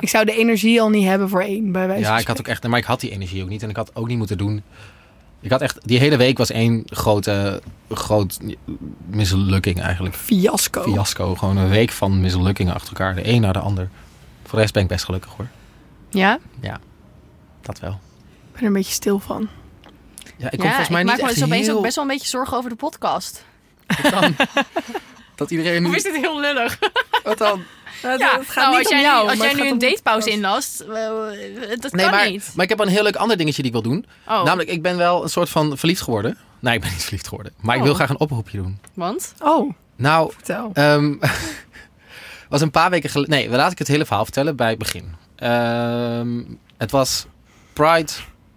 Speaker 3: Ik zou de energie al niet hebben voor één, bij wijze
Speaker 4: Ja,
Speaker 3: van
Speaker 4: ik had ook
Speaker 3: spreken.
Speaker 4: echt... Maar ik had die energie ook niet. En ik had ook niet moeten doen... Ik had echt... Die hele week was één grote... Groot mislukking eigenlijk.
Speaker 3: Fiasco.
Speaker 2: Oh.
Speaker 4: fiasco. Gewoon een week van mislukkingen achter elkaar. De een naar de ander. Voor de rest ben ik best gelukkig hoor.
Speaker 2: Ja?
Speaker 4: Dat wel.
Speaker 3: Ik ben er een beetje stil van.
Speaker 4: Ja, ik
Speaker 2: ja,
Speaker 4: kom volgens mij
Speaker 2: ik
Speaker 4: niet
Speaker 2: maak me
Speaker 4: echt
Speaker 2: dus opeens
Speaker 4: heel
Speaker 2: ook best wel een beetje zorgen over de podcast.
Speaker 4: goed aan dat iedereen
Speaker 2: Hoe
Speaker 4: nu...
Speaker 2: is dit heel lullig?
Speaker 4: Wat dan?
Speaker 3: Het,
Speaker 2: Ja,
Speaker 3: het gaat
Speaker 2: nou,
Speaker 3: niet
Speaker 2: als
Speaker 3: om
Speaker 2: jij,
Speaker 3: jou,
Speaker 2: nu,
Speaker 3: maar
Speaker 2: als jij
Speaker 3: het
Speaker 2: nu
Speaker 3: gaat
Speaker 2: een
Speaker 3: om de
Speaker 2: datepauze
Speaker 3: podcast.
Speaker 2: inlast, eh, eh, dat
Speaker 4: Nee,
Speaker 2: kan
Speaker 4: maar, nou,
Speaker 2: niet.
Speaker 4: maar ik heb een heel leuk ander dingetje die ik wil doen.
Speaker 2: Oh,
Speaker 4: Namelijk, ik ben wel een soort van verliefd geworden. Nee, ik ben niet verliefd geworden. Maar ik wil
Speaker 2: Oh.
Speaker 4: graag een oproepje doen.
Speaker 2: want?
Speaker 3: Oh,
Speaker 4: Nou,
Speaker 3: vertel.
Speaker 4: Ehm was een paar weken geleden. Nee, laat ik het hele verhaal vertellen bij het begin. Ehm, het was Pride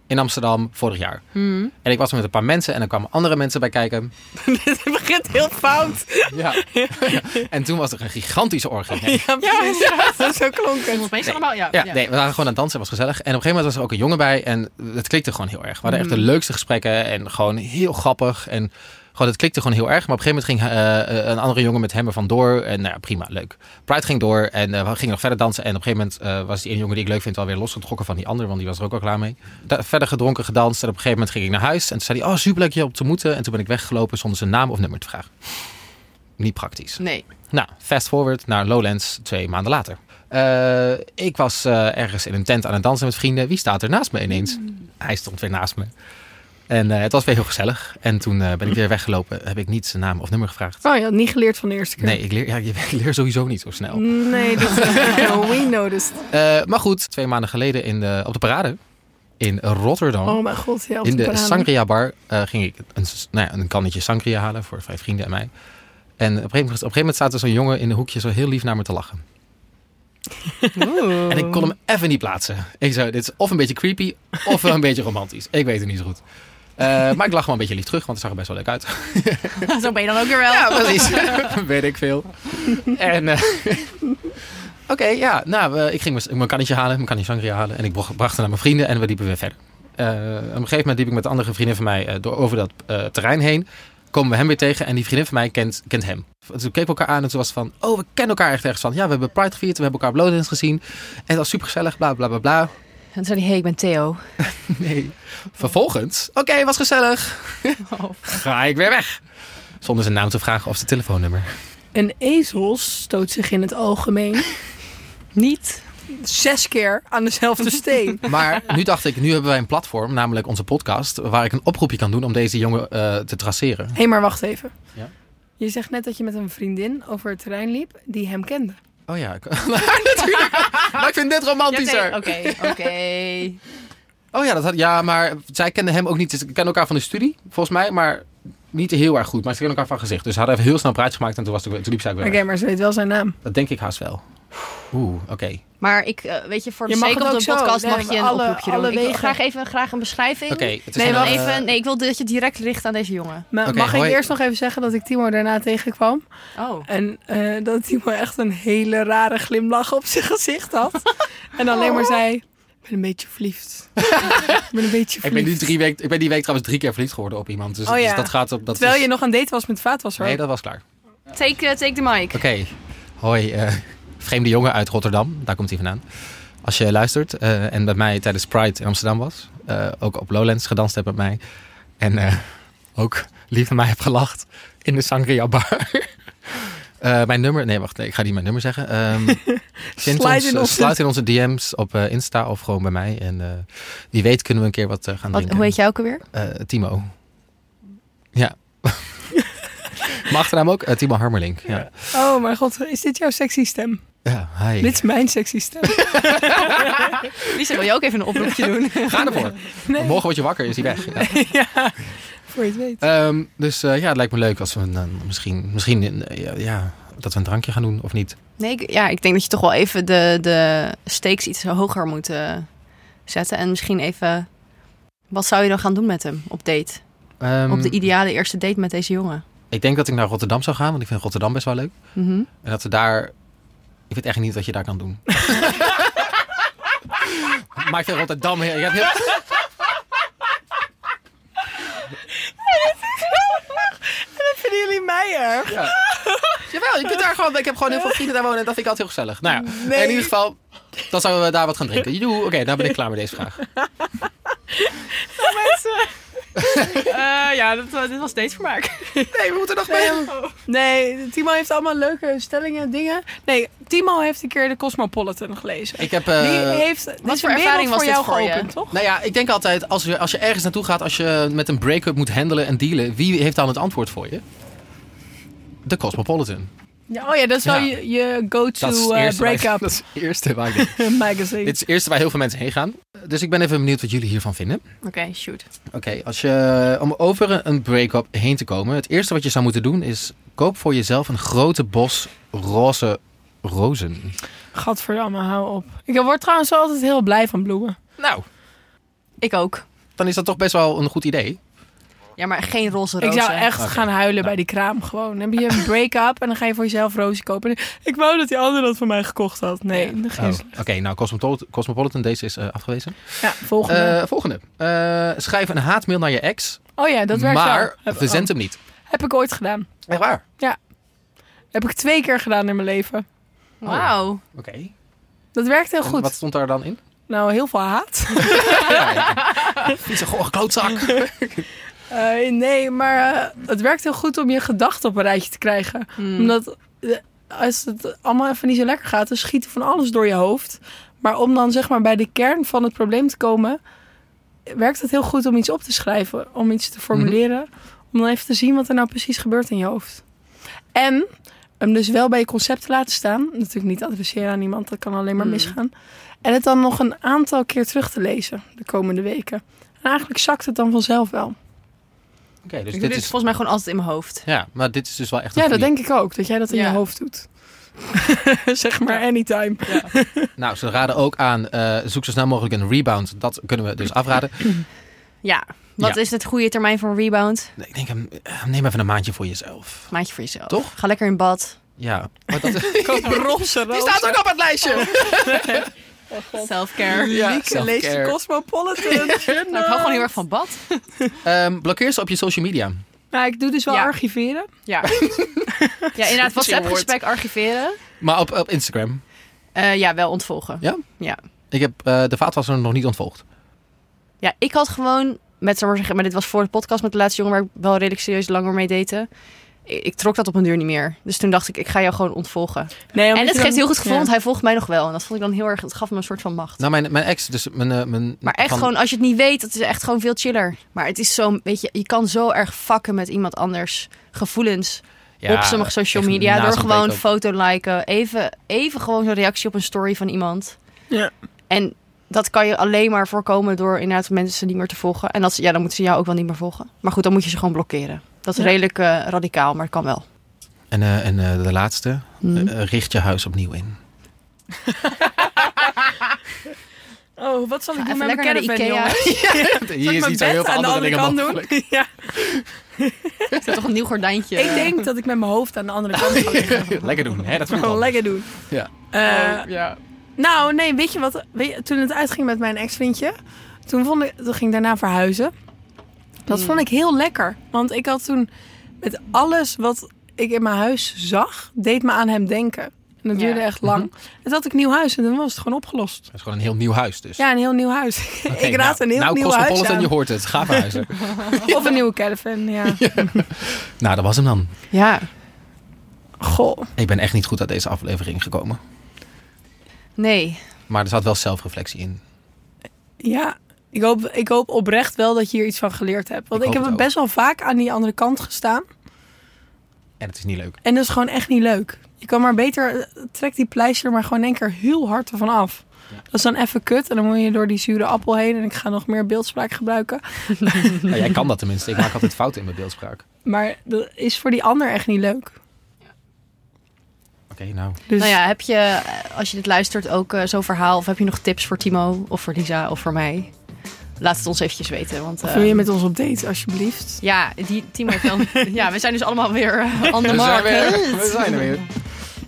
Speaker 4: in Amsterdam vorig jaar.
Speaker 2: Hmm.
Speaker 4: En ik was met een paar mensen en er kwamen andere mensen bij kijken.
Speaker 3: Dit begint heel fout.
Speaker 4: Ja. en toen was er een gigantische orgie. Nee.
Speaker 3: Ja, precies. Ja, zo klonk het.
Speaker 2: Volgens mij is het allemaal, ja.
Speaker 4: Ja, nee, we waren gewoon aan het dansen, het was gezellig. En op een gegeven moment was er ook een jongen bij en het klikte gewoon heel erg. We hadden echt de leukste gesprekken en gewoon heel grappig. En gewoon, het klikte gewoon heel erg. Maar op een gegeven moment ging eh, eh, een andere jongen met hem er vandoor. En nou ja, prima, leuk. Pride ging door en eh, we gingen nog verder dansen. En op een gegeven moment eh, was die ene jongen die ik leuk vind alweer losgetrokken van die ander. Want die was er ook al klaar mee. Da- verder gedronken, gedanst. En op een gegeven moment ging ik naar huis. En toen zei hij, oh superleuk je op te moeten. En toen ben ik weggelopen zonder zijn naam of nummer te vragen. Niet praktisch.
Speaker 2: Nee.
Speaker 4: Nou, fast forward naar Lowlands twee maanden later. Eh, ik was eh, ergens in een tent aan het dansen met vrienden. Wie staat er naast me ineens? Hij stond weer naast me. En eh, het was weer heel gezellig. En toen eh, ben ik weer weggelopen. Heb ik niet zijn naam of nummer gevraagd.
Speaker 3: Oh, je had niet geleerd van de eerste keer.
Speaker 4: Nee, Oh. ik leer, ja, ik leer sowieso niet zo
Speaker 3: Mm.
Speaker 4: snel.
Speaker 3: Nee, dat we noticed.
Speaker 4: Eh, maar goed, twee maanden geleden in de, op de parade in Rotterdam.
Speaker 3: Oh mijn god, ja, op
Speaker 4: in de
Speaker 3: parade.
Speaker 4: Sangria bar eh, ging ik een, s- nou ja, een kannetje Sangria halen voor vijf vrienden en mij. En op een gegeven moment, op een gegeven moment zaten zo'n jongen in een hoekje zo heel lief naar me te lachen. En ik kon hem even niet plaatsen. Ik zei, dit is of een beetje creepy, of wel een beetje romantisch. Ik weet het niet zo goed. Eh, maar ik lag wel een beetje lief terug, want het zag er best wel leuk uit.
Speaker 2: Zo ben je dan ook weer wel.
Speaker 4: Ja, precies. Weet ik veel. En. eh, Oké, ja. Nou, eh, ik ging mijn- mijn kannetje halen, mijn kannetje sangria halen. En ik bracht bracht het naar mijn vrienden en we liepen weer verder. Eh, op een gegeven moment liep ik met andere vrienden van mij eh, door, over dat eh, terrein heen. Komen we hem weer tegen en die vriendin van mij kent, kent hem. Toen keken we elkaar aan en toen was het van... Oh, we kennen elkaar echt ergens van. Ja, we hebben Pride gevierd, we hebben elkaar op Lowlands gezien. En het was supergezellig, bla bla bla bla.
Speaker 2: En toen zei hij, hey, ik ben Theo.
Speaker 4: Nee. Vervolgens, oké, was gezellig. Ga ik weer weg. Zonder zijn naam te vragen of zijn telefoonnummer.
Speaker 3: Een ezel stoot zich in het algemeen
Speaker 2: Niet.
Speaker 3: zes keer aan dezelfde steen.
Speaker 4: Maar nu dacht ik, nu hebben wij een platform, namelijk onze podcast, waar ik een oproepje kan doen om deze jongen eh, te traceren.
Speaker 3: Hé, maar wacht even.
Speaker 4: Ja?
Speaker 3: Je zegt net dat je met een vriendin over het terrein liep die hem kende.
Speaker 4: Oh ja, ik- natuurlijk. Maar ik vind dit romantischer.
Speaker 2: Oké, oké.
Speaker 4: Oh ja, dat had, ja, maar zij kenden hem ook niet. Ze kennen elkaar van de studie, volgens mij, maar niet heel erg goed. Maar ze kennen elkaar van gezicht. Dus ze hadden even heel snel een praatje gemaakt en toen, was het, weer- toen liep zij ook weer.
Speaker 3: Oké,
Speaker 4: weg.
Speaker 3: maar ze weet wel zijn naam.
Speaker 4: Dat denk ik haast wel. Oeh, oké.
Speaker 2: Maar ik, eh, weet je, voor de
Speaker 3: Je mag
Speaker 2: zeker
Speaker 3: het
Speaker 2: op
Speaker 3: ook
Speaker 2: de
Speaker 3: zo.
Speaker 2: podcast
Speaker 3: Nee,
Speaker 2: mag je een
Speaker 3: alle-
Speaker 2: oproepje
Speaker 3: alle
Speaker 2: doen. Ik wil
Speaker 3: wegen.
Speaker 2: graag even graag een beschrijving.
Speaker 4: Oké, het is
Speaker 2: nee,
Speaker 4: een,
Speaker 2: wel
Speaker 4: eh,
Speaker 2: even, nee, ik wil dat je direct richt aan deze jongen.
Speaker 3: Maar
Speaker 4: Oké,
Speaker 3: mag
Speaker 4: hoi.
Speaker 3: ik eerst nog even zeggen dat ik Timo daarna tegenkwam?
Speaker 2: Oh.
Speaker 3: En eh, dat Timo echt een hele rare glimlach op zijn gezicht had. en alleen maar zei, ik ben een beetje verliefd. ik ben een beetje verliefd.
Speaker 4: Ik ben, die drie week, ik ben die week trouwens drie keer verliefd geworden op iemand. Dus,
Speaker 3: Oh ja.
Speaker 4: dus dat gaat op. Dat
Speaker 3: Terwijl
Speaker 4: is-
Speaker 3: je nog aan het daten was met vaatwasser.
Speaker 4: Nee, dat was klaar.
Speaker 2: Take, eh, take the mic.
Speaker 4: Oké, hoi. eh, vreemde jongen uit Rotterdam, daar komt hij vandaan. Als je luistert eh, en bij mij tijdens Pride in Amsterdam was, eh, ook op Lowlands gedanst hebt met mij en eh, ook lief met mij hebt gelacht in de Sangria Bar. Eh, mijn nummer, nee wacht, nee, ik ga niet mijn nummer zeggen. Ehm vind
Speaker 3: Slide
Speaker 4: ons,
Speaker 3: in
Speaker 4: eh,
Speaker 3: onze-
Speaker 4: sluit in onze DM's op eh, Insta of gewoon bij mij. En eh, wie weet kunnen we een keer wat eh, gaan
Speaker 2: Wat,
Speaker 4: drinken.
Speaker 2: hoe heet jij ook alweer?
Speaker 4: Eh, Timo. Ja. Mijn achternaam ook? Eh, Timo Harmerling. Ja.
Speaker 3: Oh mijn god, is dit jouw sexy stem?
Speaker 4: ja, hi.
Speaker 3: Dit is mijn sexy stem.
Speaker 2: Lisa, wil je ook even een oproepje doen?
Speaker 4: Ga ervoor. Morgen word je wakker, is hij weg. Ja.
Speaker 3: ja, voor je het weet.
Speaker 4: Ehm, dus eh, ja, het lijkt me leuk als we een, eh, misschien, misschien eh, ja, ja, dat we een drankje gaan doen of niet.
Speaker 2: Nee, ik, ja, ik denk dat je toch wel even de, de stakes iets hoger moet eh, zetten. En misschien even... Wat zou je dan gaan doen met hem op date?
Speaker 4: Ehm,
Speaker 2: op de ideale eerste date met deze jongen?
Speaker 4: ik denk dat ik naar Rotterdam zou gaan, want ik vind Rotterdam best wel leuk.
Speaker 2: Mhm.
Speaker 4: En dat ze daar. Ik weet echt niet wat je daar kan doen. maar ik vind Rotterdam heel. Ik heb heel...
Speaker 3: Vinden jullie mij erg?
Speaker 4: Ja. Jawel, je kunt daar gewoon. Ik heb gewoon heel veel vrienden daar wonen en dat vind ik altijd heel gezellig. Nou ja,
Speaker 3: Nee.
Speaker 4: in ieder geval. Dan zouden we daar wat gaan drinken. Joehoe, Oké, nou ben ik klaar met deze vraag.
Speaker 2: ja, dit was steeds vermaak.
Speaker 4: Nee, we moeten nog mee.
Speaker 3: Nee, Timo heeft allemaal leuke stellingen en dingen. Nee, Timo heeft een keer de Cosmopolitan gelezen.
Speaker 4: Ik heb. eh,
Speaker 3: Die heeft die is
Speaker 2: voor
Speaker 3: een wereld
Speaker 2: ervaring was
Speaker 3: voor
Speaker 2: dit
Speaker 3: jou
Speaker 2: voor je?
Speaker 3: geopend, toch?
Speaker 4: Nou ja, ik denk altijd, als je, als je ergens naartoe gaat, als je met een break-up moet handelen en dealen, wie heeft dan het antwoord voor je? De Cosmopolitan.
Speaker 3: Ja, oh ja, dat is wel
Speaker 4: Ja.
Speaker 3: je, je
Speaker 4: Dat is
Speaker 3: go-to
Speaker 4: het
Speaker 3: eh,
Speaker 4: eerste waar ik-
Speaker 3: break-up
Speaker 4: Dat is het eerste waar ik denk.
Speaker 3: magazine.
Speaker 4: Dit is het eerste waar heel veel mensen heen gaan. Dus ik ben even benieuwd wat jullie hiervan vinden.
Speaker 2: Oké, shoot.
Speaker 4: Oké, als je eh, om over een break-up heen te komen, het eerste wat je zou moeten doen is koop voor jezelf een grote bos roze rozen.
Speaker 3: Gadverdamme, hou op. Ik word trouwens wel altijd heel blij van bloemen.
Speaker 4: Nou,
Speaker 2: Ik ook.
Speaker 4: dan is dat toch best wel een goed idee.
Speaker 2: Ja, maar geen roze
Speaker 3: Ik
Speaker 2: rozen.
Speaker 3: zou echt
Speaker 4: Oké.
Speaker 3: gaan huilen bij die kraam gewoon. Dan heb je een break-up en dan ga je voor jezelf rozen kopen. Ik wou dat die ander dat voor mij gekocht had. Nee, dat
Speaker 4: Oh,
Speaker 3: geen zin.
Speaker 4: Oké, nou Cosmopolitan, Cosmopolitan, deze is eh, afgewezen.
Speaker 3: Ja, volgende.
Speaker 4: Eh, volgende. Eh, schrijf een haatmail naar je ex,
Speaker 3: oh ja, dat werkt wel. Oh.
Speaker 4: maar
Speaker 3: Heb-
Speaker 4: verzend hem niet.
Speaker 3: Heb ik ooit gedaan.
Speaker 4: Echt waar?
Speaker 3: Heb ik twee keer gedaan in mijn leven.
Speaker 2: Oh. Wauw.
Speaker 4: Oké.
Speaker 3: Dat werkt heel
Speaker 4: En
Speaker 3: goed.
Speaker 4: Wat stond daar dan in?
Speaker 3: Nou, heel veel haat.
Speaker 4: ja, ja. Vieze gore klootzak.
Speaker 3: Eh, nee, maar eh, het werkt heel goed om je gedachten op een rijtje te krijgen. Omdat eh, als het allemaal even niet zo lekker gaat, dan schiet er van alles door je hoofd. Maar om dan zeg maar bij de kern van het probleem te komen, werkt het heel goed om iets op te schrijven, om iets te formuleren. Om dan even te zien wat er nou precies gebeurt in je hoofd. En hem dus wel bij je concept te laten staan. Natuurlijk niet adresseren aan iemand, dat kan alleen maar
Speaker 2: Mm.
Speaker 3: misgaan. En het dan nog een aantal keer terug te lezen de komende weken. En eigenlijk zakt het dan vanzelf wel.
Speaker 4: dus
Speaker 2: ik
Speaker 4: dit
Speaker 2: doe dit
Speaker 4: is...
Speaker 2: volgens mij gewoon altijd in mijn hoofd.
Speaker 4: Ja, maar dit is dus wel echt een
Speaker 3: Ja, dat
Speaker 4: goeie.
Speaker 3: denk ik ook, dat jij dat in
Speaker 2: Ja.
Speaker 3: je hoofd doet. zeg maar anytime.
Speaker 4: Nou, ze raden ook aan, eh, zoek zo snel mogelijk een rebound. Dat kunnen we dus afraden.
Speaker 2: Ja. Wat
Speaker 4: Ja.
Speaker 2: is het goede termijn voor een rebound?
Speaker 4: Nee, Ik denk, eh, neem even een maandje voor jezelf.
Speaker 2: Maandje voor jezelf.
Speaker 4: Toch?
Speaker 2: Ga lekker in bad.
Speaker 4: Ja. Maar dat,
Speaker 3: roze
Speaker 4: die staat ook op het lijstje.
Speaker 2: Self-care.
Speaker 4: Ja,
Speaker 3: leest de
Speaker 4: self-care.
Speaker 3: Cosmopolitan.
Speaker 2: Nou, ik hou gewoon heel erg van bad.
Speaker 4: Ehm, blokkeer ze op je social media.
Speaker 3: Nou, ik doe dus wel
Speaker 2: Ja.
Speaker 3: archiveren.
Speaker 2: Ja. ja, inderdaad. WhatsApp-gesprek archiveren.
Speaker 4: Maar op, op Instagram.
Speaker 2: Eh, ja, wel ontvolgen.
Speaker 4: Ik heb eh, de vaatwasser nog niet ontvolgd.
Speaker 2: Ja, ik had gewoon met zomaar zeggen, maar dit was voor de podcast met de laatste jongen waar ik wel redelijk serieus langer mee date. Ik, ik trok dat op een duur niet meer. Dus toen dacht ik, ik ga jou gewoon ontvolgen.
Speaker 3: Nee,
Speaker 2: en het geeft heel goed gevoel, want hij volgt mij nog wel. En dat vond ik dan heel erg, het gaf me een soort van macht.
Speaker 4: Nou, mijn, mijn ex, dus mijn... eh, mijn
Speaker 2: maar echt
Speaker 4: van-
Speaker 2: gewoon, als je het niet weet, dat is echt gewoon veel chiller. Maar het is zo, weet je, je kan zo erg fakken met iemand anders gevoelens
Speaker 4: Ja,
Speaker 2: op sommige social
Speaker 4: echt
Speaker 2: media.
Speaker 4: na
Speaker 2: Door
Speaker 4: zo'n
Speaker 2: gewoon
Speaker 4: break-up.
Speaker 2: foto liken, even, even gewoon zo'n reactie op een story van iemand.
Speaker 3: Ja.
Speaker 2: En dat kan je alleen maar voorkomen door inderdaad mensen niet meer te volgen. En dat, ze- ja, dan moeten ze jou ook wel niet meer volgen. Maar goed, dan moet je ze gewoon blokkeren. Dat is
Speaker 3: Ja.
Speaker 2: redelijk eh, radicaal, maar het kan wel.
Speaker 4: En, eh, en eh, de laatste,
Speaker 2: Mhm.
Speaker 4: eh, eh, richt je huis opnieuw in.
Speaker 3: Oh, wat zal ik
Speaker 2: Ga
Speaker 3: doen
Speaker 2: even
Speaker 3: met mijn
Speaker 2: lekker naar de
Speaker 3: caravan,
Speaker 2: Ikea.
Speaker 3: jongens?
Speaker 4: Hier
Speaker 3: Zal ik
Speaker 4: is
Speaker 3: mijn
Speaker 4: niet zo heel
Speaker 3: bed
Speaker 4: veel
Speaker 3: aan de
Speaker 4: andere
Speaker 3: andere
Speaker 4: dingen
Speaker 3: kant
Speaker 4: mogelijk.
Speaker 3: doen? Ja.
Speaker 2: Ik heb toch een nieuw gordijntje.
Speaker 3: Ik denk dat ik met mijn hoofd aan de andere kant ga liggen.
Speaker 4: Lekker doen, hè? Dat vind ik
Speaker 3: Gewoon
Speaker 4: wel.
Speaker 3: lekker doen.
Speaker 4: Ja.
Speaker 3: Eh,
Speaker 2: ja.
Speaker 3: Nou, nee, weet je wat? Weet je, toen het uitging met mijn ex-vriendje, toen, vond ik, toen ging ik daarna verhuizen.
Speaker 4: Hmm.
Speaker 3: Dat vond ik heel lekker. Want ik had toen met alles wat ik in mijn huis zag, deed me aan hem denken. En dat
Speaker 2: Ja.
Speaker 3: duurde echt
Speaker 4: Mhm.
Speaker 3: lang. En toen had ik een nieuw huis en toen was het gewoon opgelost.
Speaker 4: Het is gewoon een heel nieuw huis dus.
Speaker 3: Ja, een heel nieuw huis.
Speaker 4: Oké,
Speaker 3: ik raad
Speaker 4: nou,
Speaker 3: een heel
Speaker 4: nou,
Speaker 3: nieuw huis
Speaker 4: Cosmopolitan,
Speaker 3: aan.
Speaker 4: je hoort het. Ga verhuizen.
Speaker 3: Of een nieuwe caravan, ja.
Speaker 4: nou, dat was hem dan.
Speaker 2: ja.
Speaker 3: Goh.
Speaker 4: Ik ben echt niet goed uit deze aflevering gekomen.
Speaker 2: Nee.
Speaker 4: Maar er zat wel zelfreflectie in.
Speaker 3: Ja, ik hoop, ik hoop oprecht wel dat je hier iets van geleerd hebt. Want
Speaker 4: Ik
Speaker 3: ik,
Speaker 4: hoop
Speaker 3: heb
Speaker 4: het
Speaker 3: best wel vaak aan die andere kant gestaan.
Speaker 4: En het is niet leuk.
Speaker 3: En dat is gewoon echt niet leuk. Je kan maar beter, eh, trek die pleister maar gewoon in één keer heel hard ervan af. Dat is dan even kut en dan moet je door die zure appel heen. En ik ga nog meer beeldspraak gebruiken.
Speaker 4: Nou, jij kan dat tenminste. Ik maak altijd fouten in mijn beeldspraak. Oké,
Speaker 3: Maar dat is voor die ander echt niet leuk.
Speaker 4: nou.
Speaker 3: Dus
Speaker 2: Nou ja, heb je, eh, als je dit luistert, ook eh, zo'n verhaal? Of heb je nog tips voor Timo of voor Lisa of voor mij? Laat het ons eventjes weten. Want,
Speaker 3: of
Speaker 2: eh,
Speaker 3: wil je met ons op date alsjeblieft?
Speaker 2: Ja, die, Timo heeft wel... ja, we zijn dus allemaal weer eh, on the mark.
Speaker 4: we zijn er weer.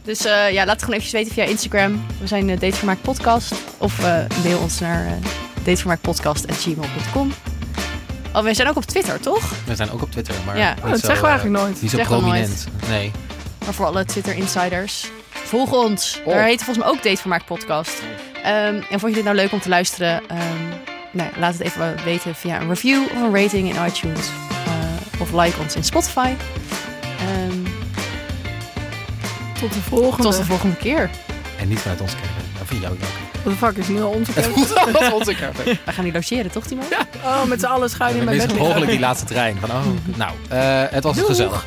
Speaker 2: Dus eh, ja, laat het gewoon even weten via Instagram. We zijn eh, Datevermaak Podcast. Of eh, mail ons naar eh datevermaakpodcast.gmail.com Oh, we zijn ook op Twitter, toch?
Speaker 4: We zijn ook op Twitter, maar
Speaker 2: Ja.
Speaker 4: niet
Speaker 3: Oh, dat
Speaker 4: zo,
Speaker 3: zeggen we
Speaker 4: eh,
Speaker 3: eigenlijk nooit.
Speaker 4: Niet zo
Speaker 2: Zeggen we
Speaker 4: prominent. Nee.
Speaker 2: Maar voor alle Twitter-insiders, volg ons.
Speaker 4: Oh.
Speaker 2: Daar heet volgens mij ook Datevermaak Podcast. Ehm, en vond je dit nou leuk om te luisteren? Ehm, nou, laat het even wel weten via een review of een rating in iTunes. Eh, of like ons in Spotify. Ehm,
Speaker 3: Tot de volgende.
Speaker 2: tot de volgende keer.
Speaker 4: En niet vanuit onze kerk. Of van jou, jou.
Speaker 3: What the fuck is nu al onze
Speaker 4: Het
Speaker 3: keuze?
Speaker 4: voelt wel wat onze kerk.
Speaker 2: We gaan nu logeren, toch Timo?
Speaker 3: Oh, met z'n allen schuin in
Speaker 4: En
Speaker 3: mijn
Speaker 4: mis
Speaker 3: bed liggen.
Speaker 4: mogelijk die laatste trein. Van, oh, nou, eh, het was gezellig.